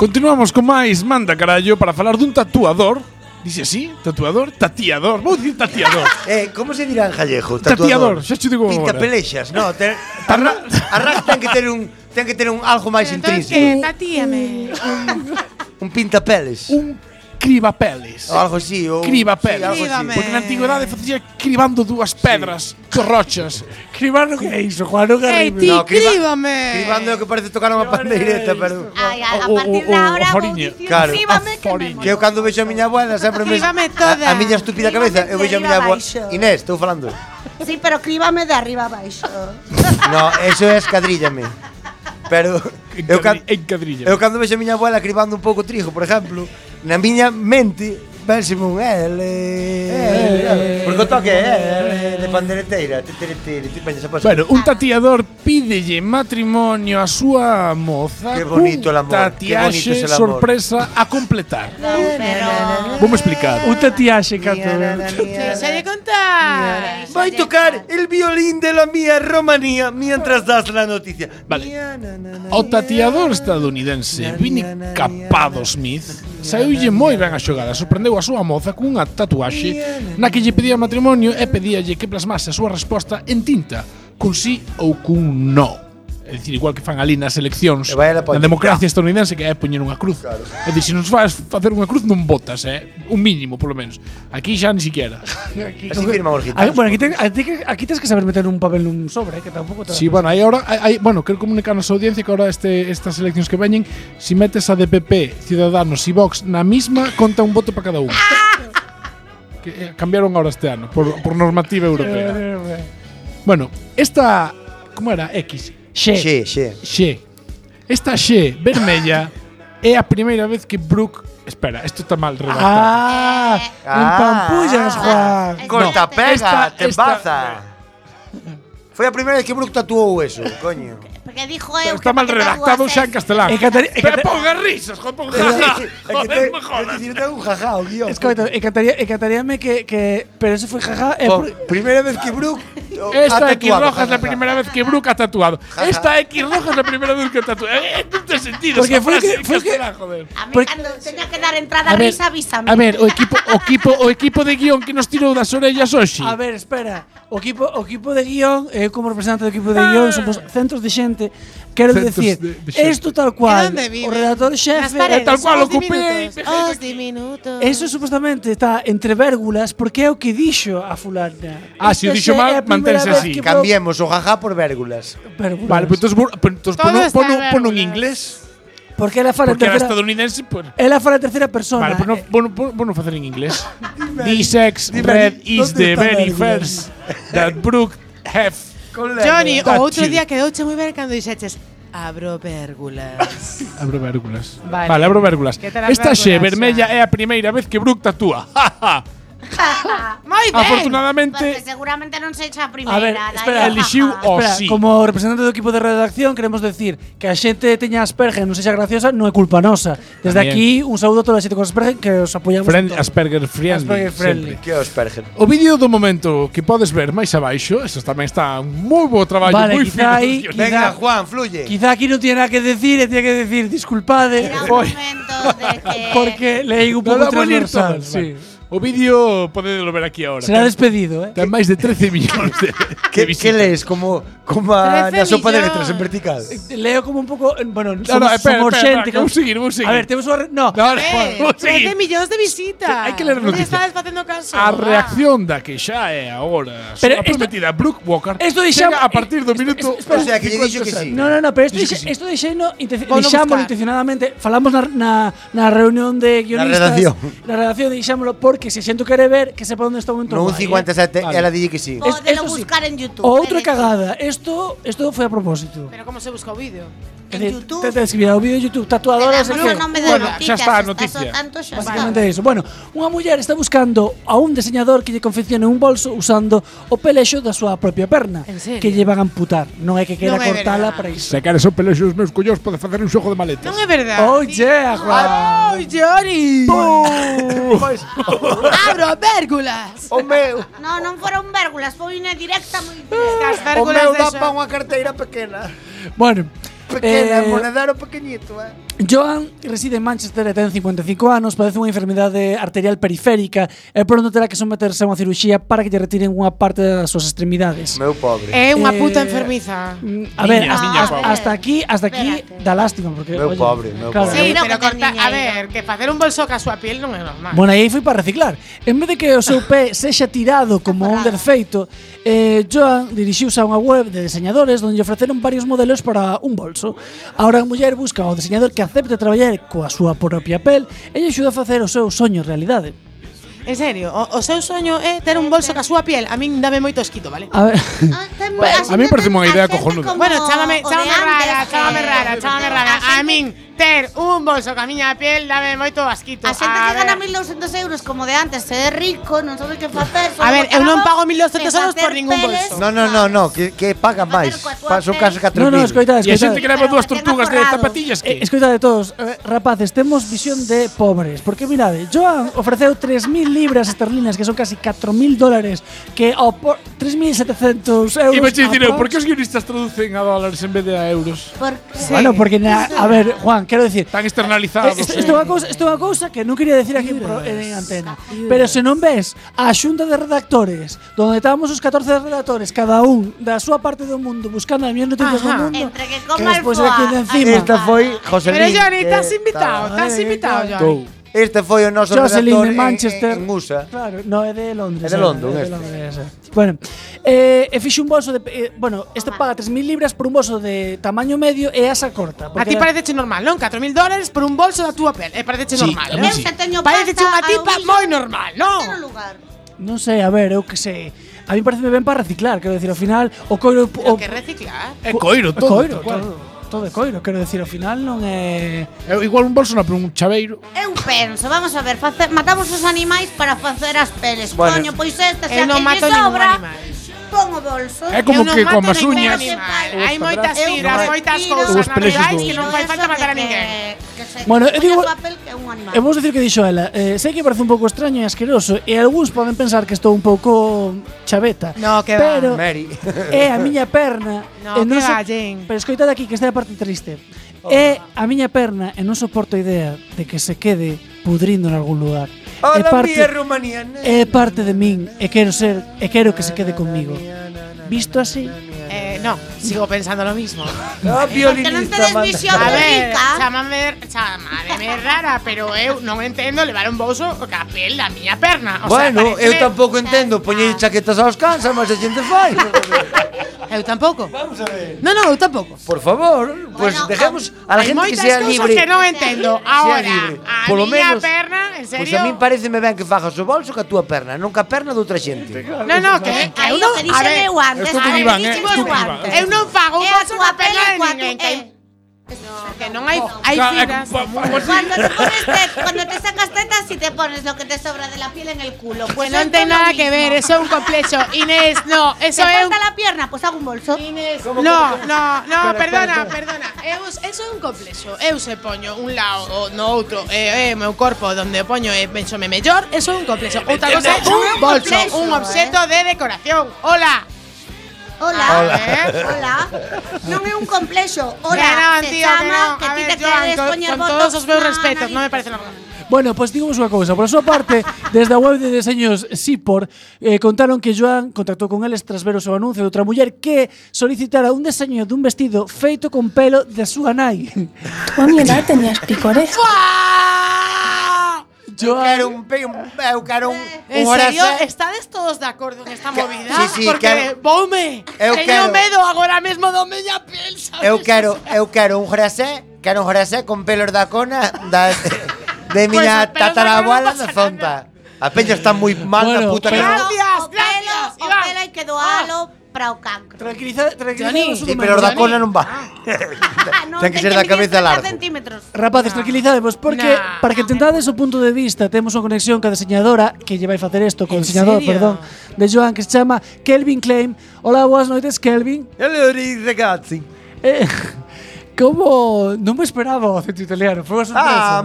Speaker 9: Continuamos con máis manda carallo para falar dun tatuador. Dice así, tatuador, tatiador. Vou dicir tatiador.
Speaker 2: eh, como se dirá en gallego?
Speaker 9: Tatiador, xa che digo
Speaker 2: Pinta
Speaker 9: agora.
Speaker 2: pelexas, no, te, arra, arra ten que ter un ten que ter un algo máis intrínseco.
Speaker 8: Entonces, tatíame.
Speaker 2: Un pintapeles.
Speaker 9: Un cribapeles.
Speaker 2: O algo así, o
Speaker 9: Cribapeles.
Speaker 2: sí, algo así.
Speaker 9: Porque na antigüedade facía cribando dúas pedras, corrochas. Cribar no que é iso, Juan, non
Speaker 8: Ei,
Speaker 9: é
Speaker 8: ti,
Speaker 9: horrible.
Speaker 8: críbame.
Speaker 2: Cribando é o que parece tocar unha pandeireta, pero
Speaker 11: Ai, a, a
Speaker 9: O- o-
Speaker 11: partir
Speaker 9: o-
Speaker 11: da
Speaker 9: o
Speaker 11: hora vou
Speaker 9: foriña.
Speaker 11: dicir
Speaker 2: Claro.
Speaker 11: cribame que me
Speaker 2: Que eu cando vexo a miña abuela sempre me
Speaker 11: Cribame toda.
Speaker 2: a, a miña estúpida cabeza, eu
Speaker 11: Cribame de
Speaker 2: vexo a miña
Speaker 11: arriba
Speaker 2: abuela.
Speaker 11: abaixo.
Speaker 2: Inés, estou falando.
Speaker 11: mo- Sí, pero cribame de arriba abaixo.
Speaker 2: No, eso é escadríllame. Pero eu can, eu cando vexo a miña abuela cribando un pouco trigo, por exemplo, na miña mente vénseme un L. L, Porque o toque é L de pandereteira. Ti, ti, ti, ti, veña, xa pasa.
Speaker 9: Bueno, un tatiador pídelle matrimonio a súa moza
Speaker 2: Qué bonito
Speaker 9: cun
Speaker 2: el amor, qué bonito
Speaker 9: tatiaxe
Speaker 2: es el amor.
Speaker 9: sorpresa a completar.
Speaker 11: Non, pero...
Speaker 9: Vou explicar. Un
Speaker 7: tatiaxe,
Speaker 9: Cato.
Speaker 8: Deixa de contar.
Speaker 2: Vai tocar el violín de la mía Romanía mientras das la noticia.
Speaker 9: Vale. O tatiador estadounidense Vinny Capado Smith saiulle moi ben a xogada, sorprendeu a súa moza cunha tatuaxe na que lle pedía matrimonio e pedíalle que plasmase a súa resposta en tinta, cun sí ou cun no. É dicir, igual que fan ali nas eleccións
Speaker 2: E vai a la
Speaker 9: na democracia estadounidense que é poñer unha cruz. Claro. É dicir, se nos vas facer unha cruz non votas, eh? un mínimo, polo menos. Aquí xa ni siquiera.
Speaker 2: Así firma Borja.
Speaker 7: Ah, bueno, aquí, ten- aquí, aquí tens que saber meter un papel nun sobre, eh, que tampouco te
Speaker 9: Sí, bueno, aí ahora hai, hai, bueno, quero comunicar a nosa audiencia que ahora este, estas eleccións que veñen, si metes a DPP, Ciudadanos e Vox na misma, conta un voto para cada uno. que eh, cambiaron ahora este ano por, por normativa europea.
Speaker 7: eh,
Speaker 9: Bueno, esta como era X?
Speaker 2: Xe, xe.
Speaker 9: Xe. Esta xe vermella é a primeira vez que Brooke Espera, isto está mal redactado.
Speaker 7: Ah,
Speaker 2: Ah.
Speaker 7: empapullas, Juan.
Speaker 2: Corta,
Speaker 9: No,
Speaker 2: pega,
Speaker 9: esta-
Speaker 2: te
Speaker 9: esta-
Speaker 2: embaza. Foi a primeira vez que Brooke tatuou eso, coño.
Speaker 11: Porque dijo eu
Speaker 9: Está
Speaker 11: que
Speaker 9: mal
Speaker 11: me
Speaker 9: redactado
Speaker 11: tatuases.
Speaker 9: xa en castelán.
Speaker 7: É que atari- é que
Speaker 9: Pero
Speaker 7: atari-
Speaker 9: ponga risas, joder, ponga jaja. Joder, me jodas.
Speaker 2: Tengo un jajá, o guión.
Speaker 7: Escoita, encantaría, encantaríame que, que... Pero eso foi jaja... eh, É
Speaker 9: Oh.
Speaker 2: Por
Speaker 7: por...
Speaker 2: primeira vez que Brooke to-
Speaker 9: Esta
Speaker 2: ha
Speaker 9: X
Speaker 2: tatuado,
Speaker 9: roja es la
Speaker 2: jajaja.
Speaker 9: primera vez que Brooke ha tatuado.
Speaker 2: Ja, ja.
Speaker 9: Esta X roja es la primera vez que ha tatuado. Eh, no tiene sentido.
Speaker 7: Porque
Speaker 9: esa
Speaker 7: fue
Speaker 9: frase
Speaker 7: que-
Speaker 9: en
Speaker 7: fue que-
Speaker 9: castellano, joder.
Speaker 11: A mí
Speaker 7: Por-
Speaker 11: cando teña que dar entrada a risa, avísame.
Speaker 9: a ver, o equipo, o equipo, o equipo de guión que nos tirou das orellas hoxe.
Speaker 7: A ver, espera. O equipo, o equipo de guión, eu como representante do equipo de
Speaker 2: Ah.
Speaker 7: guión, somos centros de xente. Quero
Speaker 9: Centros
Speaker 7: dicir,
Speaker 9: de- de xente.
Speaker 7: isto tal
Speaker 8: E
Speaker 7: cual.
Speaker 8: onde vive?
Speaker 7: O redactor
Speaker 8: Nas
Speaker 7: xefe...
Speaker 8: paredes,
Speaker 9: tal cual,
Speaker 8: os
Speaker 9: ocupei,
Speaker 8: diminutos,
Speaker 9: vejete
Speaker 8: Os diminutos.
Speaker 7: Eso supostamente está entre vérgulas porque é o que dixo a fulana.
Speaker 9: Ah, se o
Speaker 7: Esta
Speaker 9: dixo
Speaker 7: xe
Speaker 9: mal,
Speaker 7: é a primeira
Speaker 9: mantense
Speaker 7: vez
Speaker 9: así.
Speaker 7: que vou-
Speaker 2: Cambiemos o jajá por vérgulas.
Speaker 7: Vérgulas.
Speaker 9: Vale, pues entonces, bu- pues, entonces
Speaker 8: Todo
Speaker 9: pon, un-
Speaker 8: está
Speaker 9: pon, un-
Speaker 8: en
Speaker 9: pon un
Speaker 8: vergüenza.
Speaker 9: inglés.
Speaker 7: Porque ela fala en
Speaker 9: Porque era
Speaker 7: terceira,
Speaker 9: estadounidense. Pues.
Speaker 7: ela fala en terceira persona. Eh,
Speaker 9: Vale, pues no, pon, pon, pon un facer en inglés. The sex
Speaker 7: dime,
Speaker 9: red
Speaker 7: ¿dónde
Speaker 9: is the
Speaker 7: está
Speaker 9: very
Speaker 7: vergüenza?
Speaker 9: first that Brooke have.
Speaker 8: Johnny, o
Speaker 9: Tachi.
Speaker 8: outro día quedouche moi ben cando dixeches abro vérgulas.
Speaker 9: Abro vérgulas.
Speaker 8: Vale.
Speaker 9: Vale, abro vérgulas.
Speaker 8: Que te las
Speaker 9: Esta xe
Speaker 8: vérgulas,
Speaker 9: vermella
Speaker 8: xa.
Speaker 9: é a primeira vez que Brooke tatúa. Ja, ja.
Speaker 8: moi ben.
Speaker 11: Porque
Speaker 9: Afortunadamente,
Speaker 11: seguramente non se echa a primeira.
Speaker 7: A ver,
Speaker 11: daí
Speaker 7: espera,
Speaker 11: o
Speaker 9: elixiu
Speaker 11: jaja.
Speaker 9: o
Speaker 7: Espera,
Speaker 9: sí.
Speaker 7: como representante do equipo de redacción queremos decir que a xente teña Asperger non sexa graciosa non é culpa nosa. Desde
Speaker 9: Tamén.
Speaker 7: aquí un saúdo a toda a xente con Asperger que os apoiamos. en
Speaker 9: friend,
Speaker 7: todo.
Speaker 9: Asperger friendly.
Speaker 7: Asperger friendly.
Speaker 9: sempre.
Speaker 2: Que Asperger.
Speaker 9: O vídeo do momento que podes ver máis abaixo, eso tamén está un moi bo traballo,
Speaker 7: Vale,
Speaker 9: moi
Speaker 7: quizá aí-
Speaker 9: guionado.
Speaker 7: Quizá-
Speaker 2: Venga, Juan, fluye.
Speaker 7: Quizá aquí non tiene nada que decir e tiene que decir disculpade
Speaker 11: Era un
Speaker 7: foi-
Speaker 11: momento de que...
Speaker 7: porque leí un
Speaker 9: Non
Speaker 7: pouco
Speaker 9: dá por ir
Speaker 7: transversal.
Speaker 9: todos,
Speaker 7: Sí.
Speaker 9: vale. O vídeo podedelo ver aquí ahora.
Speaker 7: Será
Speaker 9: Ten-
Speaker 7: despedido, eh.
Speaker 9: Ten máis de 13 millóns de, de
Speaker 2: Que, que
Speaker 9: visitas.
Speaker 2: lees? Como, como a,
Speaker 8: 13
Speaker 2: na sopa de
Speaker 8: millóns.
Speaker 2: letras en vertical.
Speaker 7: Leo como un pouco, eh, bueno, somos,
Speaker 9: No, no, espera,
Speaker 7: somos
Speaker 9: espera, espera,
Speaker 7: xente
Speaker 9: que vou seguir, vou seguir.
Speaker 7: A ver, temos unha re- no.
Speaker 9: No, no,
Speaker 8: Eh,
Speaker 9: vou seguir.
Speaker 8: 13 millóns de visitas.
Speaker 9: Hai que ler a
Speaker 8: Non te
Speaker 9: noticia.
Speaker 8: estades facendo caso.
Speaker 9: A
Speaker 8: Ah.
Speaker 9: reacción da que xa é agora
Speaker 7: Pero
Speaker 9: a
Speaker 7: isto-
Speaker 9: prometida Brooke Walker
Speaker 7: Isto
Speaker 9: chega
Speaker 7: dixamos-
Speaker 9: a partir do
Speaker 7: isto-
Speaker 9: minuto
Speaker 7: isto-
Speaker 2: O
Speaker 7: espera.
Speaker 2: sea, que lle dixo que sí.
Speaker 7: No, no, no, pero isto,
Speaker 9: Dixo que
Speaker 7: dixe-
Speaker 9: sí.
Speaker 7: isto deixeino intenci-
Speaker 8: Vou non buscar.
Speaker 7: dixámolo intencionadamente. Falamos na, na, na reunión de guionistas.
Speaker 2: redacción.
Speaker 7: Na redacción dixámolo por que se xento quere ver que sepa onde está o momento
Speaker 2: No, un
Speaker 7: guai,
Speaker 2: 57,
Speaker 7: eh.
Speaker 2: ela dille que sí.
Speaker 7: Es-
Speaker 11: Podelo
Speaker 7: eso sí.
Speaker 11: buscar en YouTube.
Speaker 7: O outra cagada, esto, esto foi a propósito.
Speaker 8: Pero como se busca o vídeo?
Speaker 7: En YouTube. Te, te escribirá o vídeo de YouTube, tatuadoras
Speaker 11: Te
Speaker 7: e
Speaker 11: damos
Speaker 7: que.
Speaker 11: o nome da Ah, Bueno, noticia, xa está a se estás noticia. ao tanto, xa
Speaker 7: Básicamente iso. Bueno, unha muller está buscando a un diseñador que lle confeccione un bolso usando o pelexo da súa propia perna,
Speaker 8: En serio?
Speaker 7: que lle van a amputar. Non é que queira
Speaker 8: Non é
Speaker 7: cortala para iso.
Speaker 9: Se queres o pelo os meus collós pode facer un xogo de maletas.
Speaker 8: Non é verdade.
Speaker 7: Oh, yeah, Juan.
Speaker 8: Oh, Johnny.
Speaker 2: Pues,
Speaker 7: Pois,
Speaker 8: Abro vérgulas.
Speaker 2: O meu.
Speaker 11: No, non foron vérgulas, foi unha directa moi
Speaker 8: Estas
Speaker 11: directa.
Speaker 2: O meu
Speaker 8: vérgulas
Speaker 2: dá
Speaker 8: de
Speaker 2: para
Speaker 8: xo-
Speaker 2: unha carteira pequena.
Speaker 7: Bueno,
Speaker 2: Pequena,
Speaker 7: eh,
Speaker 2: monedaro pequeñito, eh.
Speaker 7: Joan reside en Manchester e ten 55 anos, padece unha enfermidade arterial periférica e pronto terá que someterse a unha cirurxía para que lle retiren unha parte das súas extremidades.
Speaker 2: Meu pobre.
Speaker 8: É unha
Speaker 7: Eh,
Speaker 8: puta enfermiza.
Speaker 7: A ver,
Speaker 9: Miña,
Speaker 7: hasta,
Speaker 9: miña,
Speaker 7: hasta-
Speaker 9: pobre.
Speaker 7: hasta aquí, hasta aquí da lástima porque
Speaker 2: Meu
Speaker 7: oye,
Speaker 2: pobre, meu
Speaker 7: claro,
Speaker 2: pobre.
Speaker 8: Sí,
Speaker 11: Seguro
Speaker 8: pero
Speaker 11: que
Speaker 8: corta,
Speaker 11: tenía
Speaker 8: a ver, que facer un bolso ca súa piel non é normal.
Speaker 7: Bueno, aí foi para reciclar. En vez de que o seu pé sexa tirado como un desfeito, eh, Joan dirixiuse a unha web de diseñadores onde lle ofreceron varios modelos para un bolso. Ahora a muller busca o diseñador que acepte traballar coa súa propia pel e lle axuda a facer o seu soño realidade.
Speaker 8: En serio, o, o seu soño é ter un bolso ca súa piel. A min dame moito esquito, vale?
Speaker 7: A ver,
Speaker 9: A mí me parece unha idea cojonuda.
Speaker 8: Bueno, chámame, chámame rara, chámame
Speaker 11: chámame Ah.
Speaker 8: rara, chámame rara. A min ter un bolso ca miña piel dame moito asquito.
Speaker 11: A xente que
Speaker 8: ver.
Speaker 11: gana 1200 euros como de antes, se é rico, non sabe que facer.
Speaker 8: A ver, eu non pago 1200 euros por ningún bolso.
Speaker 2: No, no, no, no, que, que
Speaker 11: A
Speaker 2: pagan
Speaker 11: ver,
Speaker 2: máis.
Speaker 11: coa tua
Speaker 2: Pa- Son
Speaker 11: pel.
Speaker 2: casi 4.000.
Speaker 7: no, no,
Speaker 9: E
Speaker 7: escoitade,
Speaker 9: a xente que
Speaker 7: escoitade.
Speaker 9: leva
Speaker 11: Pero
Speaker 9: dúas
Speaker 11: que ten
Speaker 9: tortugas de
Speaker 11: aforrado.
Speaker 9: zapatillas
Speaker 7: Eh,
Speaker 9: que...
Speaker 7: Escoitade todos, eh, rapaces, temos visión de pobres Porque mirade, Joan ofreceu 3.000 libras esterlinas Que son casi 4.000 dólares Que ao por 3.700 euros
Speaker 9: Iba a dicir eu,
Speaker 7: aprox-
Speaker 9: por que os guionistas traducen a dólares en vez de a euros?
Speaker 11: Porque
Speaker 7: Bueno, porque na, a ver, Juan, quero decir
Speaker 9: Tan
Speaker 7: eh,
Speaker 9: externalizados.
Speaker 7: Isto isto é unha cousa, isto é unha cousa que non quería decir aquí en, pro- en antena Pero se non ves a xunta de redactores Donde estábamos os 14 redactores Cada un da súa parte do mundo Buscando as mellores noticias do
Speaker 8: Ajá.
Speaker 7: mundo
Speaker 11: entre que
Speaker 7: Que
Speaker 11: coma el
Speaker 7: despois aquí de encima
Speaker 2: Esta foi José
Speaker 8: Pero
Speaker 2: Lin,
Speaker 8: Johnny,
Speaker 2: que
Speaker 8: estás
Speaker 2: estaba-
Speaker 8: invitado, estás invitado, Johnny.
Speaker 9: Tou.
Speaker 2: Este foi o noso
Speaker 7: Jocelyn
Speaker 2: redactor
Speaker 7: de Manchester.
Speaker 2: en, en USA.
Speaker 7: Claro, no, é de Londres.
Speaker 2: É de
Speaker 7: eh,
Speaker 2: London,
Speaker 7: é
Speaker 2: este.
Speaker 7: Londres, eh. Bueno, eh, e fixe un bolso de... eh, bueno, este paga 3.000 libras por un bolso de tamaño medio e asa corta.
Speaker 8: A ti
Speaker 7: era-
Speaker 8: parece normal, non? 4.000 dólares por un bolso da túa pel. E parece
Speaker 9: Sí,
Speaker 8: normal,
Speaker 9: a mí
Speaker 11: Eu
Speaker 8: non?
Speaker 9: sí.
Speaker 11: que teño
Speaker 8: Parece
Speaker 11: pasta,
Speaker 8: unha
Speaker 11: a
Speaker 8: tipa
Speaker 11: un
Speaker 8: moi normal, non?
Speaker 11: terceiro lugar.
Speaker 7: Non sei, a ver, eu que sei. A mí parece ben para reciclar, quero decir, ao final, o coiro...
Speaker 8: Pero
Speaker 7: O,
Speaker 8: que reciclar.
Speaker 9: É Eh, coiro
Speaker 7: o
Speaker 9: todo.
Speaker 7: coiro,
Speaker 9: tal cual.
Speaker 7: todo, todo é coiro, quero decir, ao final non é...
Speaker 9: É igual un bolso na por un chaveiro.
Speaker 11: Eu penso, vamos a ver, face- matamos os animais para facer as peles.
Speaker 2: Bueno.
Speaker 11: Coño, pois esta xa
Speaker 8: Eu
Speaker 11: que
Speaker 8: non
Speaker 11: lle
Speaker 8: mato ningún
Speaker 11: sobra,
Speaker 8: animal.
Speaker 11: pon o bolso.
Speaker 9: É como
Speaker 8: Eu non
Speaker 9: que
Speaker 8: mato
Speaker 9: con as
Speaker 8: ningún
Speaker 9: uñas.
Speaker 8: animal.
Speaker 11: Os
Speaker 8: Hai moitas
Speaker 11: padrazos.
Speaker 8: fibras,
Speaker 11: Eu
Speaker 8: moitas
Speaker 11: retiro
Speaker 8: cousas
Speaker 9: Os presos
Speaker 8: naturais
Speaker 9: do-
Speaker 8: que non fai falta matar a ninguén.
Speaker 7: Bueno, eu digo-
Speaker 11: papel que é un animal.
Speaker 7: E vamos dicir que dixo ela, eh, sei que parece un pouco extraño e asqueroso e algúns poden pensar que estou un pouco chaveta.
Speaker 8: No, que va.
Speaker 7: pero
Speaker 2: Mary.
Speaker 7: é a miña perna.
Speaker 8: No,
Speaker 7: e
Speaker 8: que
Speaker 7: so-
Speaker 8: va, Jane. Oh.
Speaker 7: Pero escoitade aquí, que esta é a parte triste. É a miña perna e non soporto a idea de que se quede pudrindo en algún lugar. é
Speaker 8: Oh,
Speaker 2: Hola,
Speaker 7: parte
Speaker 2: mía rumaniana.
Speaker 7: é parte de min e quero ser e quero que se quede comigo. Visto así,
Speaker 8: Eh, no, sigo pensando lo mismo.
Speaker 9: Oh,
Speaker 2: Ah,
Speaker 11: Porque non
Speaker 2: violinista,
Speaker 11: tedes
Speaker 2: manda.
Speaker 11: visión
Speaker 8: A
Speaker 11: de
Speaker 8: ver,
Speaker 11: rica.
Speaker 8: chamame, chamame rara, pero eu non entendo levar un bolso ca pel da miña perna. O
Speaker 2: Bueno,
Speaker 8: sea,
Speaker 2: eu tampouco entendo poñer chaquetas aos cans, mas a xente fai.
Speaker 8: Eu tampouco. Vamos a ver. No, no, eu tampouco.
Speaker 2: Por favor, pues
Speaker 11: Bueno,
Speaker 2: dejemos a la
Speaker 8: Hai
Speaker 2: gente que
Speaker 8: moitas
Speaker 2: sea
Speaker 8: cousas
Speaker 2: libre.
Speaker 8: que non entendo. Ahora,
Speaker 2: libre.
Speaker 8: a
Speaker 2: Por lo
Speaker 8: miña
Speaker 2: menos,
Speaker 8: perna, en serio?
Speaker 2: Pois a min pareceme ben que fajas o bolso que a túa perna, non que a perna de outra xente.
Speaker 8: No, no, que, que
Speaker 11: Aí o
Speaker 8: eu non...
Speaker 11: que
Speaker 8: a
Speaker 11: dixen
Speaker 8: ver,
Speaker 11: eu antes, a
Speaker 9: estou con
Speaker 11: ver,
Speaker 9: Iván,
Speaker 11: dixen
Speaker 9: eh, estou
Speaker 11: eu
Speaker 9: con Iván.
Speaker 11: antes.
Speaker 8: eu non fago un
Speaker 11: É a
Speaker 8: bolso
Speaker 11: tua
Speaker 8: ca perna de
Speaker 11: pela e
Speaker 8: ninguén.
Speaker 11: coa
Speaker 8: Que,
Speaker 11: tu-
Speaker 8: que non hai, hai
Speaker 9: Ca- eh, é
Speaker 8: fibras.
Speaker 9: como- pa- pa-
Speaker 11: Cuando te pones te- cuando te sacas tetas y te pones lo que te sobra de la piel en el culo.
Speaker 8: Que
Speaker 11: Pues
Speaker 8: non
Speaker 11: esto es
Speaker 8: ten
Speaker 11: lo
Speaker 8: nada
Speaker 11: mismo.
Speaker 8: que ver, eso é un complexo. Inés, no, eso
Speaker 11: ¿Te
Speaker 8: é un...
Speaker 11: falta la pierna? Pues hago un bolso.
Speaker 8: Inés, no, no, no, perdona, perdona. Eu, eso é un complexo. Eu se poño un lado ou no outro, eh, eh, meu corpo donde o poño e pensome mellor, eso é un complexo. Outra cosa é
Speaker 11: Eso é
Speaker 8: un
Speaker 11: un ¿eh?
Speaker 8: bolso,
Speaker 11: complexo,
Speaker 8: un obxeto de decoración. Hola. Ah, ¿eh?
Speaker 11: Hola.
Speaker 8: Hola.
Speaker 11: Hola. Non é un complexo.
Speaker 8: Bueno,
Speaker 11: Hola, se
Speaker 8: tío, que
Speaker 11: chama
Speaker 8: no.
Speaker 11: que
Speaker 8: A
Speaker 11: ti
Speaker 8: ver,
Speaker 11: te
Speaker 8: Joan,
Speaker 11: queres
Speaker 8: con-
Speaker 11: poñer
Speaker 8: con
Speaker 11: botox
Speaker 8: todos os meus
Speaker 11: na
Speaker 8: respetos, non me
Speaker 11: nariz.
Speaker 8: parece normal.
Speaker 7: Bueno, pues digamos unha cousa. Por a súa parte, desde a web de deseños Sipor, eh, contaron que Joan contactou con eles tras ver o seu anuncio de outra muller que solicitara un deseño dun vestido feito con pelo da súa nai.
Speaker 13: Tú a mi edad tenías picores.
Speaker 2: Eu quero un, pe- un eu quero un,
Speaker 8: En
Speaker 2: un
Speaker 8: serio,
Speaker 2: oraza-
Speaker 8: estades todos de acordo en esta
Speaker 2: Que-
Speaker 8: movida?
Speaker 2: sí, sí,
Speaker 8: Porque,
Speaker 2: quero-
Speaker 8: boume,
Speaker 2: Eu
Speaker 8: teño
Speaker 2: quero-
Speaker 8: medo agora mesmo do miña piel, sabes?
Speaker 2: Eu quero, eu quero un grasé, quero un grasé con pelos da este, cona da de
Speaker 8: Pois os pelos da
Speaker 2: miña
Speaker 8: cona non
Speaker 2: tatarabuela
Speaker 8: pasa
Speaker 2: da Fonta. A Peña está muy mal la
Speaker 7: Bueno,
Speaker 2: puta que-
Speaker 7: pero-
Speaker 11: O pelo, o pelo hai que
Speaker 8: Ah.
Speaker 11: doalo para o cancro.
Speaker 7: Tranquiliza, tranquiliza
Speaker 11: Johnny,
Speaker 2: Sí, pero os da cola non va. Ten que ser da cabeza largo.
Speaker 11: centímetros.
Speaker 7: Rapaces, tranquilizadevos, porque
Speaker 11: Nah.
Speaker 7: para que entendades o punto de vista temos unha conexión ca diseñadora que lle vai facer isto, co
Speaker 11: En
Speaker 7: diseñador,
Speaker 11: serio?
Speaker 7: perdón, de Joan, que se chama Kelvin Claim. Hola, boas noites, Kelvin.
Speaker 2: Hello, ragazzi.
Speaker 7: Eh, como non me esperaba o acento italiano, foi unha sorpresa.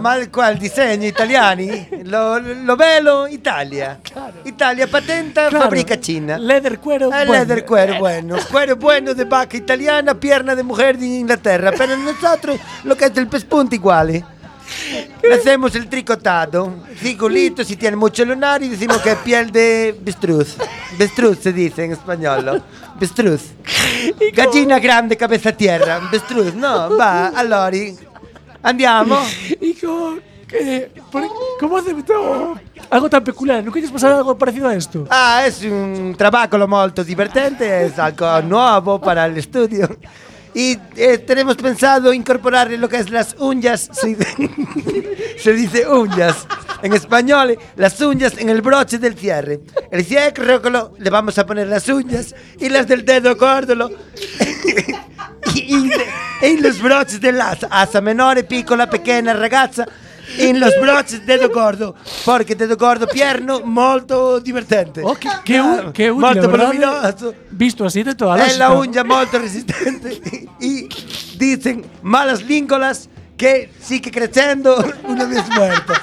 Speaker 2: Ah, ma qua il disegno italiani, lo, lo bello Italia. Italia patenta,
Speaker 7: Claro.
Speaker 2: fabbrica Cina.
Speaker 7: Leather cuero
Speaker 2: Eh,
Speaker 7: bueno.
Speaker 2: Leather cuero bueno. Cuero bueno de vacca italiana, pierna de mujer de Inglaterra. Per nosotros lo que es el pespunto eh. iguale. Le hacemos el tricotado. Cigolito, si tiene mucho lunar y decimos que es piel de bistruz. Bistruz se dice en español. Bistruz. Gallina grande, cabeza a tierra. Bistruz, no, va, allora. Andiamo.
Speaker 7: E como, que, por, como hace todo algo tan peculiar? Non queres pasar algo parecido a isto?
Speaker 2: Ah, es un trabajo molto divertente, es algo nuevo para el estudio. Y eh, tenemos pensado incorporar lo que es las uñas, se, se dice uñas en español, las uñas en el broche del cierre. El cierre rócolo, le vamos a poner las uñas y las del dedo córdolo y, y- y los broches del asa, asa menor, piccola, pequeña ragazza. En los broches dedo gordo, porque dedo gordo pierno molto divertente.
Speaker 7: Que,
Speaker 2: Ah,
Speaker 7: u, Ah, que útil,
Speaker 2: molto
Speaker 7: a verdade,
Speaker 2: voluminoso.
Speaker 7: Visto así de toda a
Speaker 2: Es la
Speaker 7: lógica.
Speaker 2: uña molto resistente. Y dicen malas língolas que sigue creciendo una vez muerta.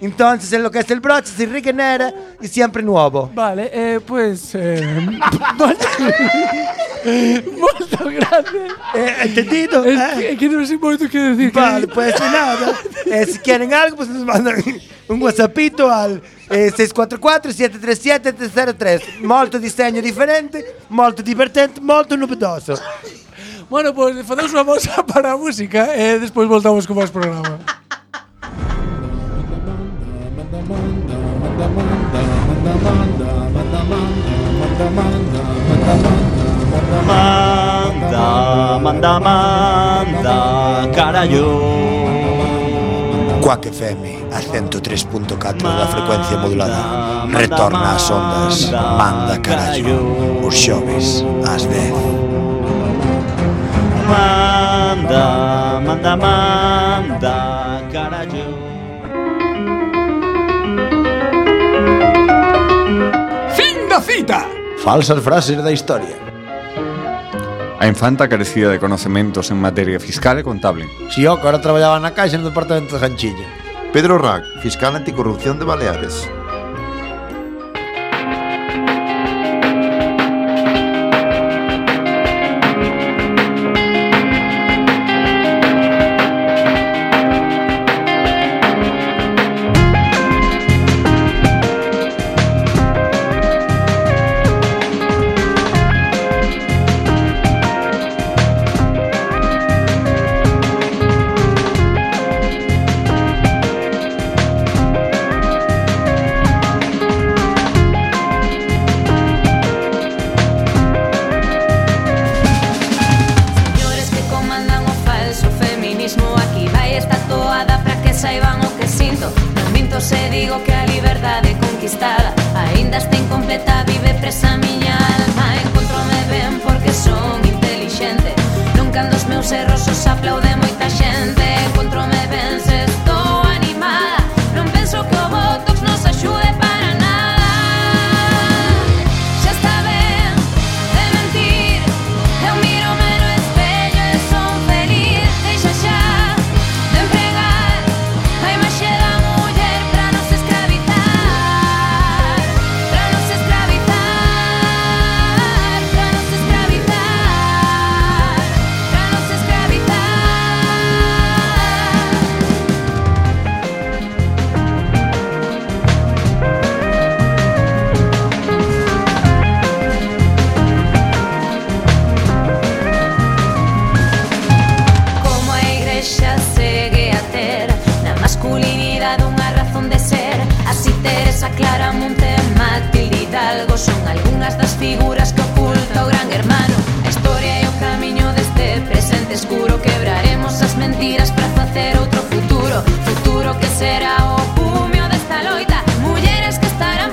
Speaker 2: Entonces, en lo que es el broche se regenera y siempre nuevo.
Speaker 7: Vale, eh, pues. Eh, molto grande.
Speaker 2: Eh, ¿Entendido?
Speaker 7: Es que, es que non sei moito que decir.
Speaker 2: Eh. Vale, pues nada. Eh, si quieren algo, pues nos mandan un WhatsAppito al eh, 644-737-303. Molto disegno differente, molto divertente, molto nubidoso.
Speaker 7: Bueno, pues facemos unha pausa para a música e eh, despois voltamos con máis programa.
Speaker 14: Manda, manda, manda, carallo.
Speaker 6: Quack FM, a 103.4 da frecuencia modulada. Retorna ás ondas, manda carallo, os xoves, ás 10.
Speaker 14: Manda, manda, manda, carallo.
Speaker 7: Fin da cita.
Speaker 6: Falsas frases da historia.
Speaker 4: A infanta carecía de conocimientos en materia fiscal e contable.
Speaker 6: Si Oco ahora traballaba na caixa no departamento de Ganchilla.
Speaker 3: Pedro Rack, fiscal anticorrupción de Baleares.
Speaker 15: Señores que comandan o falso feminismo Aquí vai esta toada para que saiban o que sinto Non minto se digo que a liberdade conquistada Ainda está incompleta, vive presa a miña alma Encontrome ben porque son intelixente Nunca ando os meus erros os aplaude moita xente Encontrome ben se estou animada Non penso que o Botox nos axude para nada Xa está ben de mentir Eu miro-me no espello e son feliz Deixa xa de empregar A imaxe da muller para nos escravizar Para nos escravizar Para nos escravizar Para nos escravizar Como a igrexa segue a ter Na masculinidade unha razón de ser Así Teresa Clara Monte Matilde Hidalgo Son algunhas das figuras que oculta o gran hermano A historia e o camiño deste presente escuro Quebraremos as mentiras para facer outro futuro Futuro que será o cumio desta loita Mulleres que están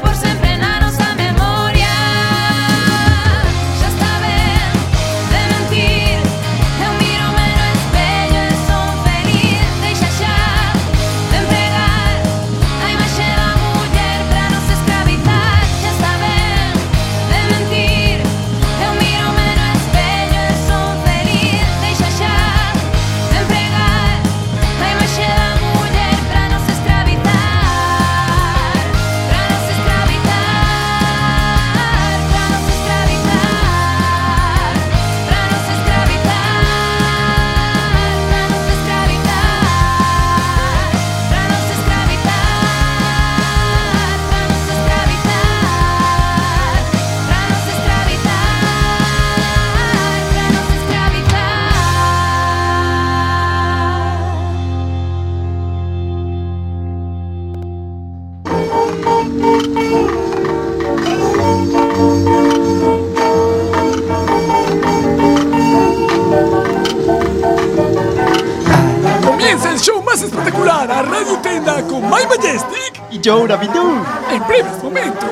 Speaker 16: Comienza el show más espectacular a Radio Tenda con My Majestic y Joe Rabidu en breves momentos.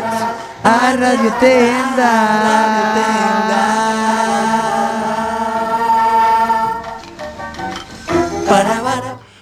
Speaker 5: A Radio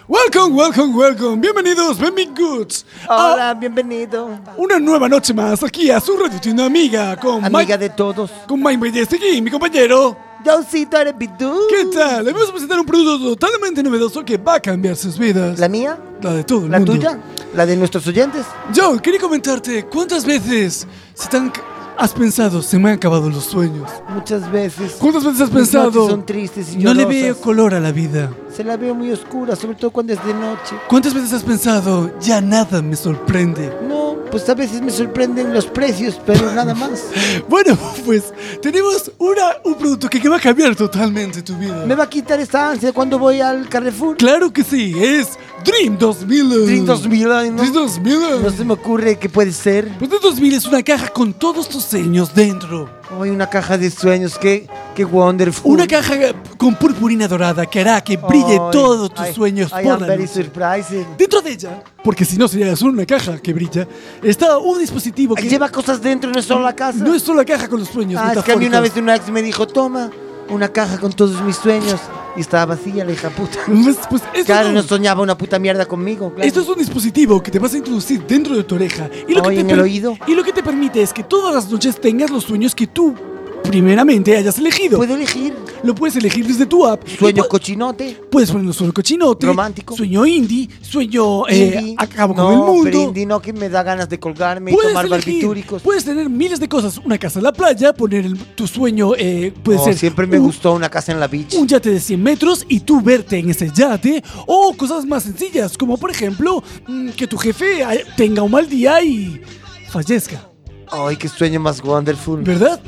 Speaker 16: Welcome, welcome, welcome. Bienvenidos, Benvinguts. Hola, bienvenido. Una nueva noche más aquí a su radio tienda amiga con
Speaker 2: Amiga
Speaker 16: de todos. Con Mike Ballester y mi compañero. Josito Arepidú. ¿Qué tal? Le vamos a presentar un producto totalmente novedoso que va a cambiar sus vidas. ¿La mía? La de todo el
Speaker 2: ¿La
Speaker 16: mundo.
Speaker 2: tuya?
Speaker 16: ¿La de nuestros oyentes? Joe, quería comentarte, ¿cuántas veces se te han ca- has pensado, se me han acabado los sueños?
Speaker 2: Muchas veces.
Speaker 16: ¿Cuántas veces has
Speaker 2: Mis noches
Speaker 16: pensado?
Speaker 2: Son tristes y
Speaker 16: No le
Speaker 2: llorosas.
Speaker 16: veo color a la vida.
Speaker 2: Se la veo muy oscura, sobre todo cuando es de noche.
Speaker 16: ¿Cuántas veces has pensado, ya nada me sorprende?
Speaker 2: No, pues a veces me sorprenden los precios, pero nada más.
Speaker 16: Bueno, pues tenemos una, un producto que, que va a cambiar totalmente tu vida.
Speaker 2: ¿Me va a quitar esta ansia cuando voy al Carrefour?
Speaker 16: Claro que sí, es Dream 2000.
Speaker 2: Dream 2000, ¿no?
Speaker 16: Dream 2000.
Speaker 2: No se me ocurre que puede ser.
Speaker 16: Pues Dream 2000 es una caja con todos tus sueños dentro.
Speaker 2: Hay una caja de sueños, qué, qué wonderful.
Speaker 16: Una caja con purpurina dorada que hará que brille
Speaker 2: Ay,
Speaker 16: todos tus
Speaker 2: I-
Speaker 16: sueños
Speaker 2: I
Speaker 16: por
Speaker 2: am
Speaker 16: la
Speaker 2: very
Speaker 16: noche. Dentro de ella, porque si no sería solo una caja que brilla, está un dispositivo que...
Speaker 2: Lleva cosas dentro, no es solo la casa.
Speaker 16: No es solo la caja con los sueños
Speaker 2: Ah, es que a mí
Speaker 16: metafóricos.
Speaker 2: una vez una ex me dijo, toma una caja con todos mis sueños. Y estaba vacía la hija puta. claro,
Speaker 16: Pues, no-
Speaker 2: no soñaba una puta mierda conmigo. claro.
Speaker 16: Esto es un dispositivo que te vas a introducir dentro de tu oreja y lo, que
Speaker 2: Ay,
Speaker 16: te
Speaker 2: en el
Speaker 16: per-
Speaker 2: oído.
Speaker 16: y lo que te permite es que todas las noches tengas los sueños que tú primeramente hayas elegido.
Speaker 2: Puedo elegir.
Speaker 16: Lo puedes elegir desde tu app.
Speaker 2: Sueño
Speaker 16: Y pu-
Speaker 2: cochinote.
Speaker 16: Puedes poner un sueño cochinote. Romántico. Sueño indie. Sueño eh,
Speaker 2: Indie.
Speaker 16: acabo
Speaker 2: no,
Speaker 16: con el mundo.
Speaker 2: pero indie no, que me da ganas de colgarme y
Speaker 16: Puedes
Speaker 2: tomar
Speaker 16: elegir,
Speaker 2: barbitúricos.
Speaker 16: Puedes tener miles de cosas. Una casa en la playa, poner el- tu sueño, eh, puede
Speaker 2: No,
Speaker 16: ser
Speaker 2: Oh, siempre me
Speaker 16: un-
Speaker 2: gustó una casa en la beach.
Speaker 16: un yate de 100 metros y tú verte en ese yate o cosas más sencillas como por ejemplo mm, que tu jefe eh, tenga un mal día y fallezca,
Speaker 2: Ay, qué sueño más wonderful.
Speaker 16: ¿verdad?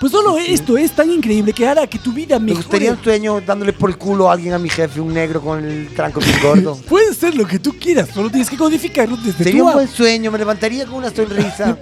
Speaker 16: Pues solo esto es tan increíble que hará que tu vida
Speaker 2: Me gustaría
Speaker 16: mejore.
Speaker 2: un sueño dándole por el culo a alguien a mi jefe, un negro con el tranco bien gordo.
Speaker 16: Puede ser lo que tú quieras, solo tienes que codificarlo desde
Speaker 2: Sería
Speaker 16: tu
Speaker 2: un
Speaker 16: app.
Speaker 2: buen sueño, me levantaría con una sonrisa.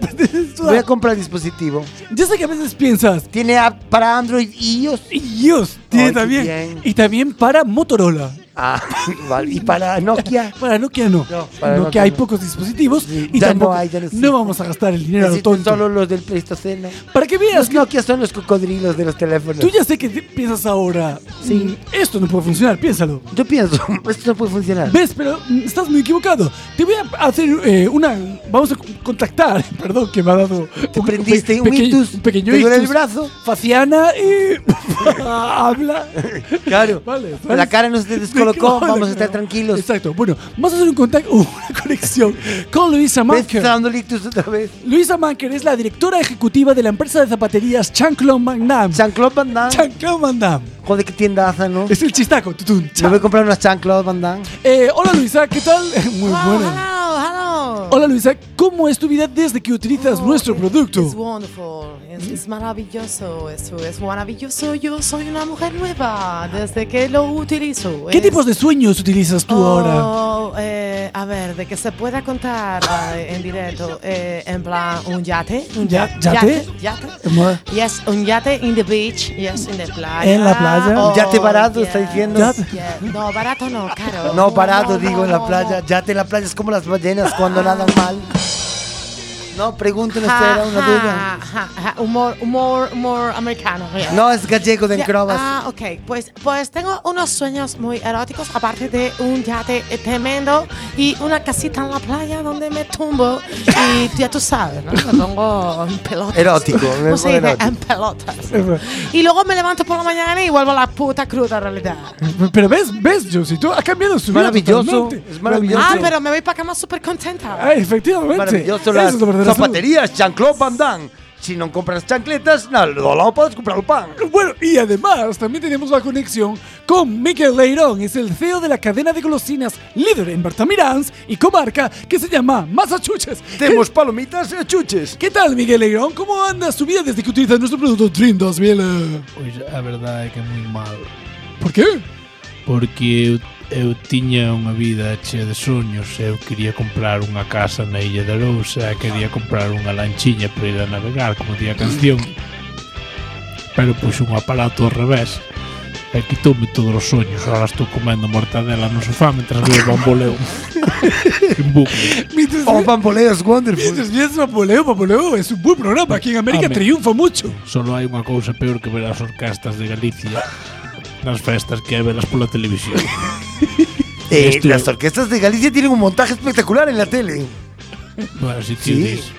Speaker 2: Voy a comprar el dispositivo.
Speaker 16: Ya sé que a veces piensas.
Speaker 2: Tiene app para Android y iOS.
Speaker 16: iOS tiene
Speaker 2: Ay, qué
Speaker 16: también.
Speaker 2: bien.
Speaker 16: Y también para Motorola.
Speaker 2: Ah, vale. Y para Nokia.
Speaker 16: para Nokia no.
Speaker 2: para
Speaker 16: Nokia
Speaker 2: Nokia
Speaker 16: hay
Speaker 2: no.
Speaker 16: pocos dispositivos y
Speaker 2: ya no
Speaker 16: tampoco
Speaker 2: hay, ya no
Speaker 16: no vamos a gastar el dinero a lo
Speaker 2: Existen
Speaker 16: tonto.
Speaker 2: solo los del Pleistoceno.
Speaker 16: Para que veas
Speaker 2: Los Nokia son los cocodrilos de los teléfonos.
Speaker 16: Tú ya sé que te- piensas ahora. Sí. Esto no puede funcionar, piénsalo.
Speaker 2: Yo pienso, esto no puede funcionar.
Speaker 16: ¿Ves? Pero mm, estás muy equivocado. Te voy a hacer eh, una. Vamos a con- contactar. Perdón, que me ha dado. Te
Speaker 2: prendiste un ictus,
Speaker 16: pequeño
Speaker 2: te duele el
Speaker 16: ictus.
Speaker 2: brazo.
Speaker 16: Faciana eh, habla.
Speaker 2: Claro.
Speaker 16: Vale, ¿sabes?
Speaker 2: la cara no se descolocó,
Speaker 16: Claro,
Speaker 2: vamos a estar
Speaker 16: claro.
Speaker 2: tranquilos.
Speaker 16: Exacto. Bueno, vamos a hacer un contacto, una conexión con Luisa
Speaker 2: ¿Ves?
Speaker 16: Manker.
Speaker 2: Está dando ictus otra vez.
Speaker 16: Luisa Manker es la directora ejecutiva de la empresa de zapaterías Chanclon Van Damme.
Speaker 2: Chanclon Van Damme.
Speaker 16: Chanclon Van Damme.
Speaker 2: Joder, qué tiendaza, ¿no?
Speaker 16: Es el chistaco. tutun,
Speaker 2: Me
Speaker 16: cha.
Speaker 2: voy a comprar unas chanclas, Van Damme.
Speaker 16: Eh, hola Luisa, ¿qué tal? Muy buena. Hola Luisa, ¿cómo es tu vida desde que utilizas nuestro
Speaker 8: Oh, Es
Speaker 16: producto?
Speaker 8: wonderful, es, es maravilloso, es, es maravilloso. Yo soy una mujer nueva desde que lo utilizo.
Speaker 16: ¿Qué
Speaker 8: Es-
Speaker 16: tipos de sueños utilizas tú ahora?
Speaker 8: Oh, eh, a ver, de que se pueda contar eh, en directo, eh, en plan un yate, un
Speaker 16: Ya-
Speaker 8: ya-
Speaker 16: ¿yate?
Speaker 8: yate, yate.
Speaker 16: Amor.
Speaker 8: Yes, un yate in the beach, yes, in the playa.
Speaker 16: En la playa.
Speaker 8: Oh,
Speaker 2: Yate barato, está diciendo.
Speaker 8: yes, yes. No, barato no, caro.
Speaker 2: No, parado, digo, en la
Speaker 8: no,
Speaker 2: playa.
Speaker 8: no.
Speaker 2: Yate en la playa es como las ballenas cuando nadan mal. No, pregúntenos, era una duda.
Speaker 8: Ja, ja, ja, ja, Humor, humor, humor americano. yes.
Speaker 2: No, es gallego de
Speaker 8: Ya,
Speaker 2: Encrobas.
Speaker 8: Ah, ok. Pues, pues tengo unos sueños muy eróticos, aparte de un yate eh, tremendo y una casita en la playa donde me tumbo y tú- ya tú sabes, ¿no? Me pongo en pelotas.
Speaker 2: Erótico, me
Speaker 8: ¿Cómo se
Speaker 2: pone
Speaker 8: dice?
Speaker 2: erótico.
Speaker 8: En pelotas. Y luego me levanto por la mañana y vuelvo a la puta cruda realidad.
Speaker 16: Pero ves, ves, yo si tú has cambiado su vida
Speaker 2: Maravilloso,
Speaker 16: totalmente.
Speaker 2: es maravilloso.
Speaker 8: Ah, pero me voy para cama súper contenta.
Speaker 16: Ah, efectivamente.
Speaker 2: Maravilloso
Speaker 16: Eso
Speaker 2: las
Speaker 16: es lo verdadero.
Speaker 2: zapaterías, chancló, Van Damme. Si no compras chancletas, no, no puedes comprar el pan.
Speaker 16: Bueno, y además también tenemos la conexión con Miquel Leirón, es el CEO de la cadena de golosinas líder en Bartamirans y comarca que se llama Masachuches.
Speaker 2: Tenemos palomitas y chuches.
Speaker 16: ¿Qué tal, Miguel Leirón? ¿Cómo anda su vida desde que utilizas nuestro producto Dream 2000?
Speaker 9: Pois a verdade é que é moi mal
Speaker 16: Por qué?
Speaker 9: Porque eu- Eu tiña unha vida chea de soños Eu quería comprar unha casa na Illa da Lousa e Quería comprar unha lanchiña para ir a navegar Como día canción Pero puxo un aparato ao revés E quitoume todos os soños Ahora estou comendo mortadela no sofá Mientras veo bamboleo En bucle
Speaker 2: O Bamboleo es wonderful
Speaker 16: Mientras ves Bamboleo, Bamboleo es un buen programa Aquí en América
Speaker 9: Amén.
Speaker 16: triunfa mucho
Speaker 9: Solo hai unha cousa peor que ver as orquestas de Galicia Nas festas que é velas pola televisión
Speaker 2: Eh, las orquestas de Galicia tienen un montaje espectacular en la tele.
Speaker 9: Bueno, si ti dis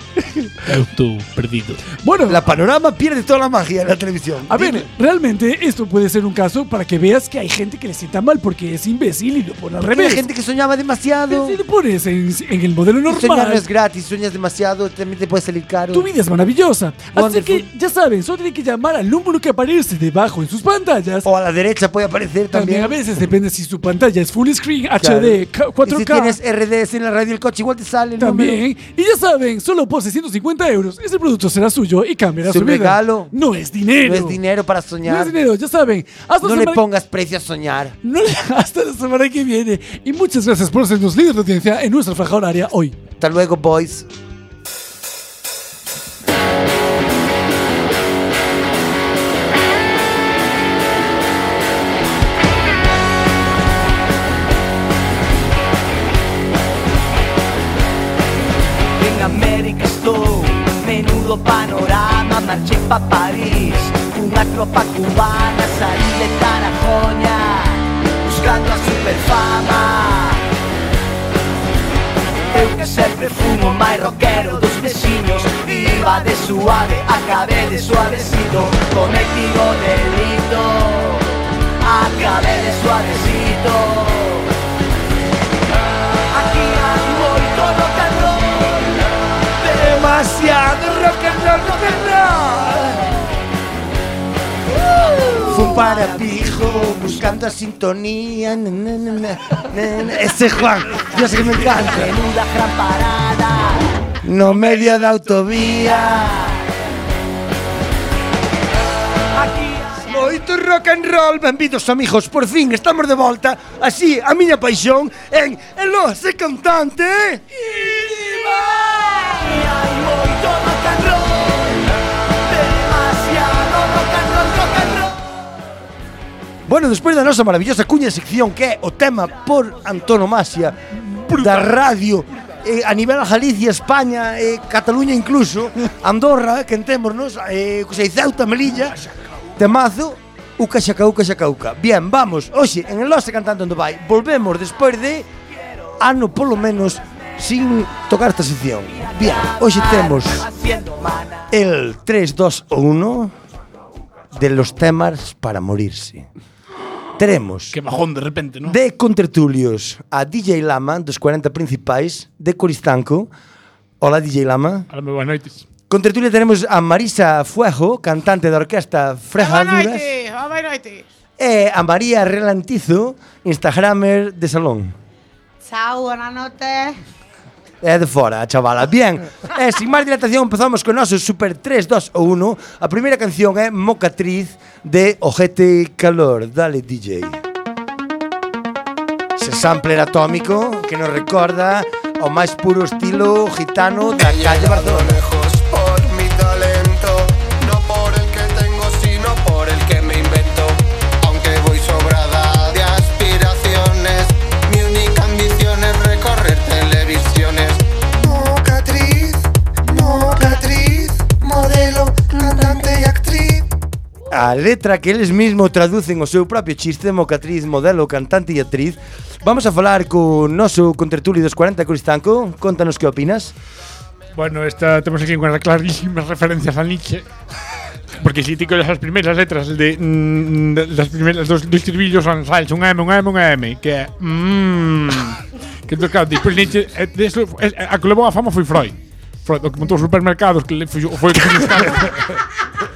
Speaker 9: Eu estou perdido
Speaker 16: Bueno,
Speaker 2: la panorama pierde toda la magia de la televisión.
Speaker 16: A ver, realmente esto puede ser un caso para que veas que hay gente que le sienta mal porque es imbécil y lo pone al
Speaker 2: Porque
Speaker 16: revés.
Speaker 2: hay gente que soñaba demasiado.
Speaker 16: Si lo pones en, en el modelo
Speaker 2: Soñar no
Speaker 16: normal,
Speaker 2: es gratis, sueñas demasiado, también te puede salir caro.
Speaker 16: tu vida es maravillosa. Así que ya saben, solo tienen que llamar al número que aparece debajo en sus pantallas.
Speaker 2: O a la derecha puede aparecer también.
Speaker 16: a veces depende si su pantalla es full screen,
Speaker 2: Claro.
Speaker 16: HD, ca- 4K.
Speaker 2: Y si tienes RDS en la radio del coche, igual te sale el
Speaker 16: También. Y ya saben, solo por 650 euros ese producto será suyo y cambiará
Speaker 2: Es un
Speaker 16: su vida.
Speaker 2: regalo.
Speaker 16: No es dinero.
Speaker 2: No es dinero para soñar.
Speaker 16: No es dinero, ya saben. Hasta
Speaker 2: No
Speaker 16: la
Speaker 2: le
Speaker 16: semana-
Speaker 2: pongas precio a soñar.
Speaker 16: No le- hasta la semana que viene. Y muchas gracias por ser los líderes de audiencia en nuestra franja horaria hoy.
Speaker 2: Hasta luego, boys.
Speaker 17: En América estoy, menudo panorama, marché pa' París, una tropa cubana, salí de Tarajoña, buscando a superfama. Eu que sempre fumo máis rockero dos veciños Iba de suave, acabé de suavecito Cometido delito Acabé de suavecito Aquí hay moito rock and roll Demasiado rock and roll, rock and roll Uh,
Speaker 2: Fue un parapijo buscando a sintonía. na, na, na, na, na, na. Ese Juan, yo sé que me encanta.
Speaker 17: Menuda gran parada
Speaker 2: No medio de autovía. Moito rock and roll, benvidos amigos, por fin estamos de volta Así, a miña paixón en Elose Cantante Bueno, despois da nosa maravillosa cuña sección que é o tema por antonomasia da radio eh, a nivel a Galicia, España, eh, Cataluña incluso, Andorra, que entémonos, eh, que sei, Ceuta, Melilla, temazo, Uca Xaca, Uca Xaca, Uca. Bien, vamos, hoxe, en el Losa Cantando onde vai, volvemos despois de ano polo menos sin tocar esta sección. Bien, hoxe temos
Speaker 17: Haciendo mana
Speaker 2: el 3, 2, 1 de los temas para morirse. Teremos
Speaker 9: Que bajón de repente, ¿no?
Speaker 2: de contertulios a DJ Lama dos 40 principais de Coristanco. Hola DJ Lama.
Speaker 9: Ahora me buenas noites.
Speaker 2: Con tertulia tenemos a Marisa Fuego, cantante da orquesta
Speaker 8: Boa
Speaker 2: Frejaduras,
Speaker 8: noite, oh, boa noite.
Speaker 2: e a María Relantizo, instagramer de salón.
Speaker 11: Chao, buenas noches.
Speaker 2: É de fora, a chavala. Bien, e sin máis dilatación empezamos con noso Super 3, 2 ou 1. A primeira canción é Mocatriz de Ojete Calor. Dale, DJ. Ese sampler atómico que nos recorda ao máis puro estilo gitano da calle Barcelona.
Speaker 18: por mi talento, no por el que tengo, sino por el que me invento. Aunque voy sobrada de aspiraciones, mi única ambición es recorrer televisiones.
Speaker 19: Mocatriz, mocatriz, modelo, cantante y actriz.
Speaker 2: A letra que eles mesmo traducen o seu propio chiste, mocatriz, modelo, cantante e actriz. Vamos a falar co noso contertulio dos 40 Coristanco. Contanos que opinas.
Speaker 9: Bueno, esta tenemos aquí unas clarísimas referencias a Nietzsche. Porque si te coges las primeras letras de mm, de- las primeras dos, dos estribillos son sales, un M, un M, un M, que é, mm, que entonces, claro, después Nietzsche eh, de eso, eh, a que levou a fama foi Freud. Freud, o que montou os supermercados, que le foi, foi o que fixo os carros.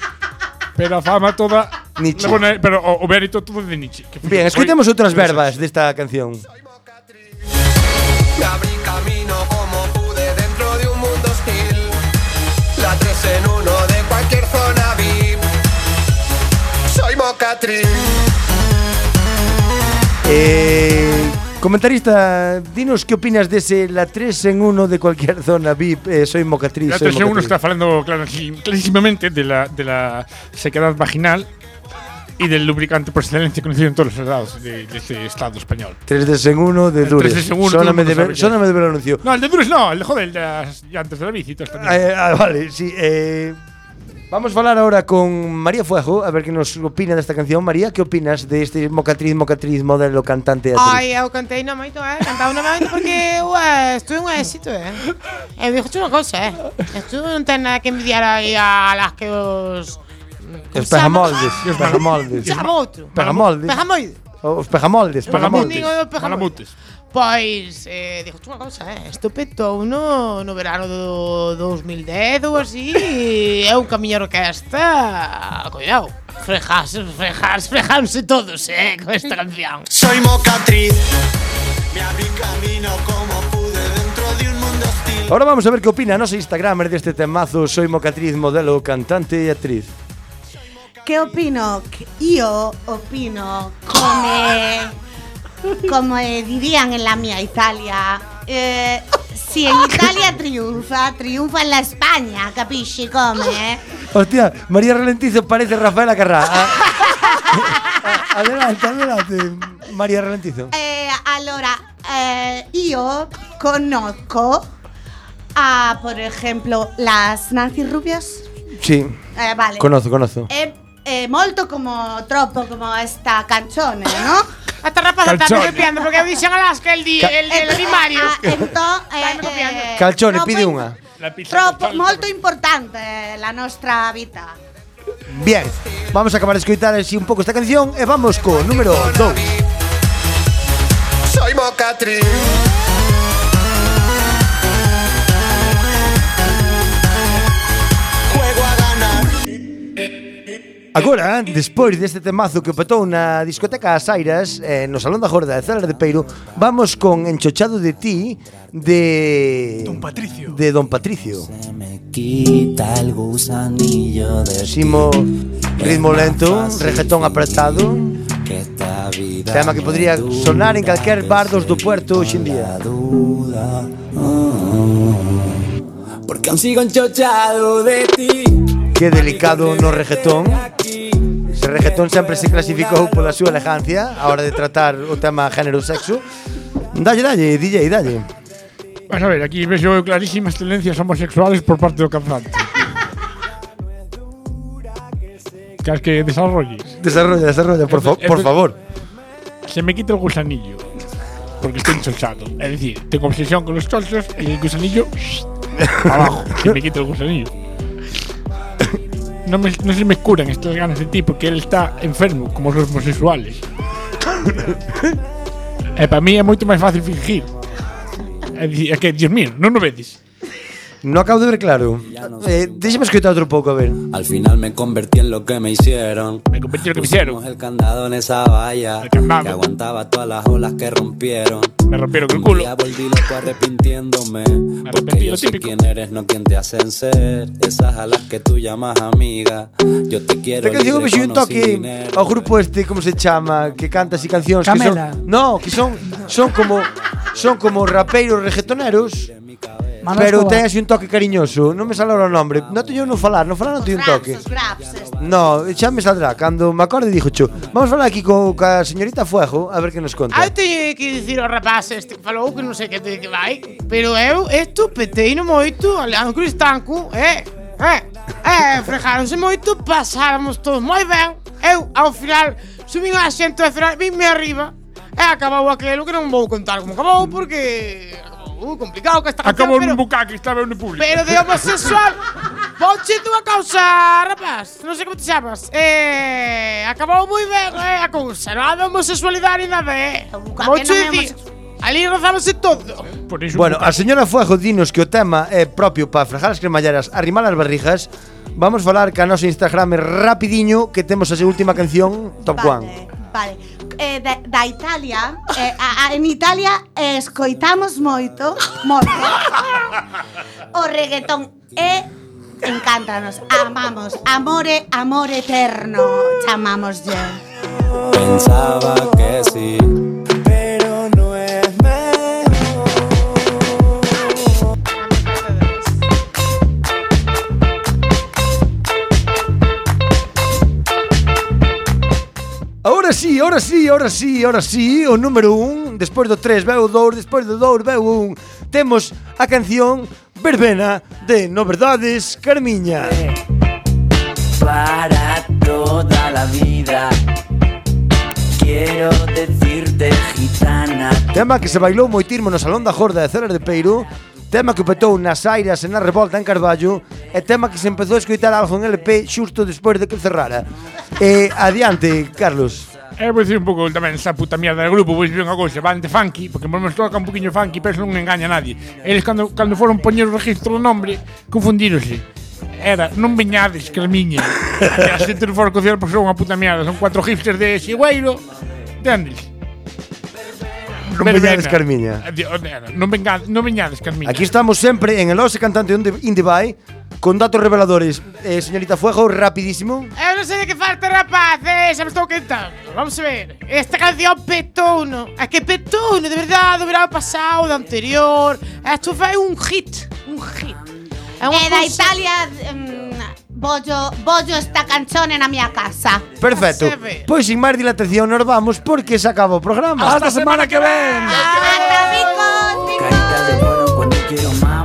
Speaker 9: Pero a fama toda
Speaker 2: Nietzsche.
Speaker 9: Bueno, eh, pero o, o mérito todo de Nietzsche. que foi-
Speaker 2: Bien,
Speaker 9: foi-
Speaker 2: escutemos outras verbas desta canción.
Speaker 18: Y abrí camino como pude dentro de un mundo hostil. La tres en uno de cualquier zona VIP. Soy Mocatriz.
Speaker 2: Eh, Comentarista, dinos que opinas dese la 3 en 1 de cualquier zona VIP, eh, soy mocatriz,
Speaker 20: La
Speaker 2: soy
Speaker 20: atención uno
Speaker 2: mocatriz.
Speaker 20: está hablando clarísimamente de la, de la sequedad vaginal y del lubricante por excelencia conocido en todos los soldados de, de este estado español.
Speaker 2: 3 de segundo de
Speaker 20: El
Speaker 2: Dures.
Speaker 20: tres de segundo, todo el
Speaker 2: Sóname
Speaker 20: mundo
Speaker 2: de,
Speaker 20: sabe
Speaker 2: ver-
Speaker 20: que-
Speaker 2: sóname de ver anuncio.
Speaker 20: No, el de Bruce no, el de joder, el de las llantas de la bici. y todo esto.
Speaker 2: Eh, ah, vale, sí. eh, vamos a hablar ahora con María Fuego, a ver qué nos opina de esta canción. María, ¿qué opinas de este mocatriz, mocatriz, modelo, cantante? atriz?
Speaker 8: Ai, eu cantei na moito, eh? Cantaba na moito porque, ué, estuve un éxito, eh? Eu digo unha cousa, eh? Estuve non ten nada que envidiar aí a las que os...
Speaker 2: Os pegamoldes. Os pegamoldes.
Speaker 8: Chama outro.
Speaker 2: Pegamoldes.
Speaker 8: Pegamoide.
Speaker 2: Os pegamoldes, pegamoldes.
Speaker 8: Digo, pegamoides. Pois, eh, dixo unha cousa, eh? Isto petou no, no verano do 2010 ou así, e é un camiño orquesta, cuidado. Frejas, frejas, frejanse todos, eh, con esta canción.
Speaker 18: Soy mocatriz. Me abrí camino como pude dentro de un mundo hostil.
Speaker 2: Ahora vamos a ver qué opina, no sé, Instagramer de este temazo. Soy mocatriz, modelo, cantante y actriz.
Speaker 11: ¿Qué opino? Que- Yo opino como, como eh, dirían en la mía Italia. eh, si en Italia triunfa, triunfa en la España, capisci come?
Speaker 2: Hostia, María Ralentizo parece Rafael Acarrá. A- a- adelante, adelante, María Ralentizo.
Speaker 11: Eh, allora, eh, yo conozco a, por ejemplo, las Nancy Rubias.
Speaker 2: Sí,
Speaker 11: Eh, vale.
Speaker 2: conozco, conozco.
Speaker 11: È, è molto come troppo come sta canzone, no?
Speaker 8: A esta rapaza está copiando porque dicen a las que el, di, el,
Speaker 11: Eh,
Speaker 8: el primario.
Speaker 11: ah,
Speaker 2: Calzone, pide una.
Speaker 11: Troppo, molto importante eh, la nostra vita.
Speaker 2: Bien, vamos a acabar de escuchar así un poco esta canción e vamos con número 2.
Speaker 18: Soy mocatriz. Juego a ganar.
Speaker 2: Agora, despois deste temazo que petou na discoteca As Airas, eh, no Salón da Jorda de Celas de Peiro, vamos con Enchochado de ti de Don Patricio. De Don Patricio.
Speaker 21: Quita el gusanillo de
Speaker 2: Simo ritmo lento, reggaetón apretado,
Speaker 21: que esta vida
Speaker 2: tema que podría sonar en calquer bar dos do puerto hoxe en día.
Speaker 21: Porque aún sigo enchochado de ti
Speaker 2: Que delicado no reggaetón. Ese reggaetón sempre se clasificou pola súa elegancia a hora de tratar o tema género sexo. Dalle, dalle, DJ, dalle.
Speaker 20: Vas a ver, aquí ves yo clarísimas tendencias homosexuales por parte del cantante. ¿Quieres que desarrolles?
Speaker 2: Desarrolla, desarrolla, por fa- por favor.
Speaker 20: Se me quita el gusanillo. Porque estoy enchochado. Es decir, tengo obsesión con los cholchos y el gusanillo. abajo. Se me quita el gusanillo. No, me- no se me curan estas ganas de ti porque él está enfermo, como los homosexuales. Eh, para mí es mucho más fácil fingir. Es decir, es que, Dios mío, no lo ves.
Speaker 2: No acabo de ver claro. Eh, déxame escoitar outro pouco, a ver.
Speaker 21: Al final me convertí en lo que me hicieron Me convertí en lo que me hicieron el candado en esa valla Que aguantaba todas las olas que rompieron Me rompieron el culo volví loco arrepintiéndome Porque yo sé quién eres, no quién te hacen ser Esas a las que tú llamas amiga Yo te quiero
Speaker 2: Esta canción
Speaker 21: libre,
Speaker 2: que un
Speaker 21: con o sin
Speaker 2: toque
Speaker 21: dinero.
Speaker 2: ao grupo este, como se chama, que canta así cancións
Speaker 21: Camela.
Speaker 2: que son, no, que son son como son como rapeiros reggaetoneros.
Speaker 11: Manolo
Speaker 2: pero
Speaker 11: Escobar.
Speaker 2: ten así un toque cariñoso, non me sale ahora o nombre. Non teño no falar, no falar non teño un toque. No, xa me saldrá cando me acorde dixo cho. Vamos falar aquí co ca señorita Fuego a ver que nos conta.
Speaker 8: Eu teño que dicir ao rapaz este que falou que non sei que te que vai, pero eu isto peteino moito a Leandro Cristanco, eh, eh, eh, frejáronse moito, pasáramos todos moi ben, eu ao final subín a xento e final vinme arriba, e acabou aquilo que non vou contar como acabou porque acabou Uh, complicado que esta canción,
Speaker 20: Acabo en
Speaker 8: pero,
Speaker 20: un bucaque, estaba en un público.
Speaker 8: pero de homosexual, Ponche tú a causa, rapaz, non sei como te chamas eh, Acabou moi ben eh, a cousa, nada de homosexualidade e nada eh.
Speaker 11: non
Speaker 8: Vou
Speaker 11: é
Speaker 8: dicir, ali rozábase todo
Speaker 2: Bueno, a señora Fuego dinos que o tema é propio para frejar as cremalleras, arrimar as barrijas. Vamos falar ca noso Instagram rapidiño que temos a súa última canción, Top One.
Speaker 11: Vale. Eh, da, da Italia, eh, a- a- en Italia eh, escoitamos moito, moito o reggaetón e encántanos, amamos, amore, amor eterno, chamamos
Speaker 21: Pensaba que sí Pero no era
Speaker 2: ahora sí, ahora sí, ahora sí, o número un, despois do tres veu o dous, despois do dous veu o un. Temos a canción Verbena de No Verdades Carmiña.
Speaker 17: para toda la vida. Quiero decirte, gitana,
Speaker 2: Tema que se bailou moitirmo no Salón da Jorda de Celas de Peiro, tema que petou nas airas e na revolta en Carballo, e tema que se empezou a escoitar algo en LP xusto despois de que cerrara. E adiante, Carlos.
Speaker 9: Eh, vou dicir un pouco tamén esa puta mierda do grupo, vou dicir unha cousa, van de funky, porque por lo menos toca un poquinho funky, pero eso non engaña a nadie. Eles cando, cando foron poñer o registro do nombre, confundíronse. Era, non veñades, Carmiña. e a xente non fora cocinar porque son unha puta mierda, son cuatro hipsters de Xigüeiro, entendes?
Speaker 2: Non veñades, Carmiña.
Speaker 9: Eh, di- o- era, Non, venga, non veñades, Carmiña.
Speaker 2: Aquí estamos sempre en el Ose Cantante Onde- Indie Bye, con datos reveladores. Eh, señorita Fuego, rapidísimo.
Speaker 8: Eu non sei Eh, de que falta, rapaces, xa me estou quentando. Vamos a ver. Esta canción petouno. É que petouno, de verdade, do verano pasado, do anterior. Isto foi un hit, un hit. É
Speaker 11: E da Italia mm, bollo, bollo esta canción en a miña casa.
Speaker 2: Perfecto. Pois sin máis dilatación nos vamos porque se acaba o programa.
Speaker 11: Hasta a semana
Speaker 2: que ven.
Speaker 11: Hasta, amigos.
Speaker 17: cuando quiero más.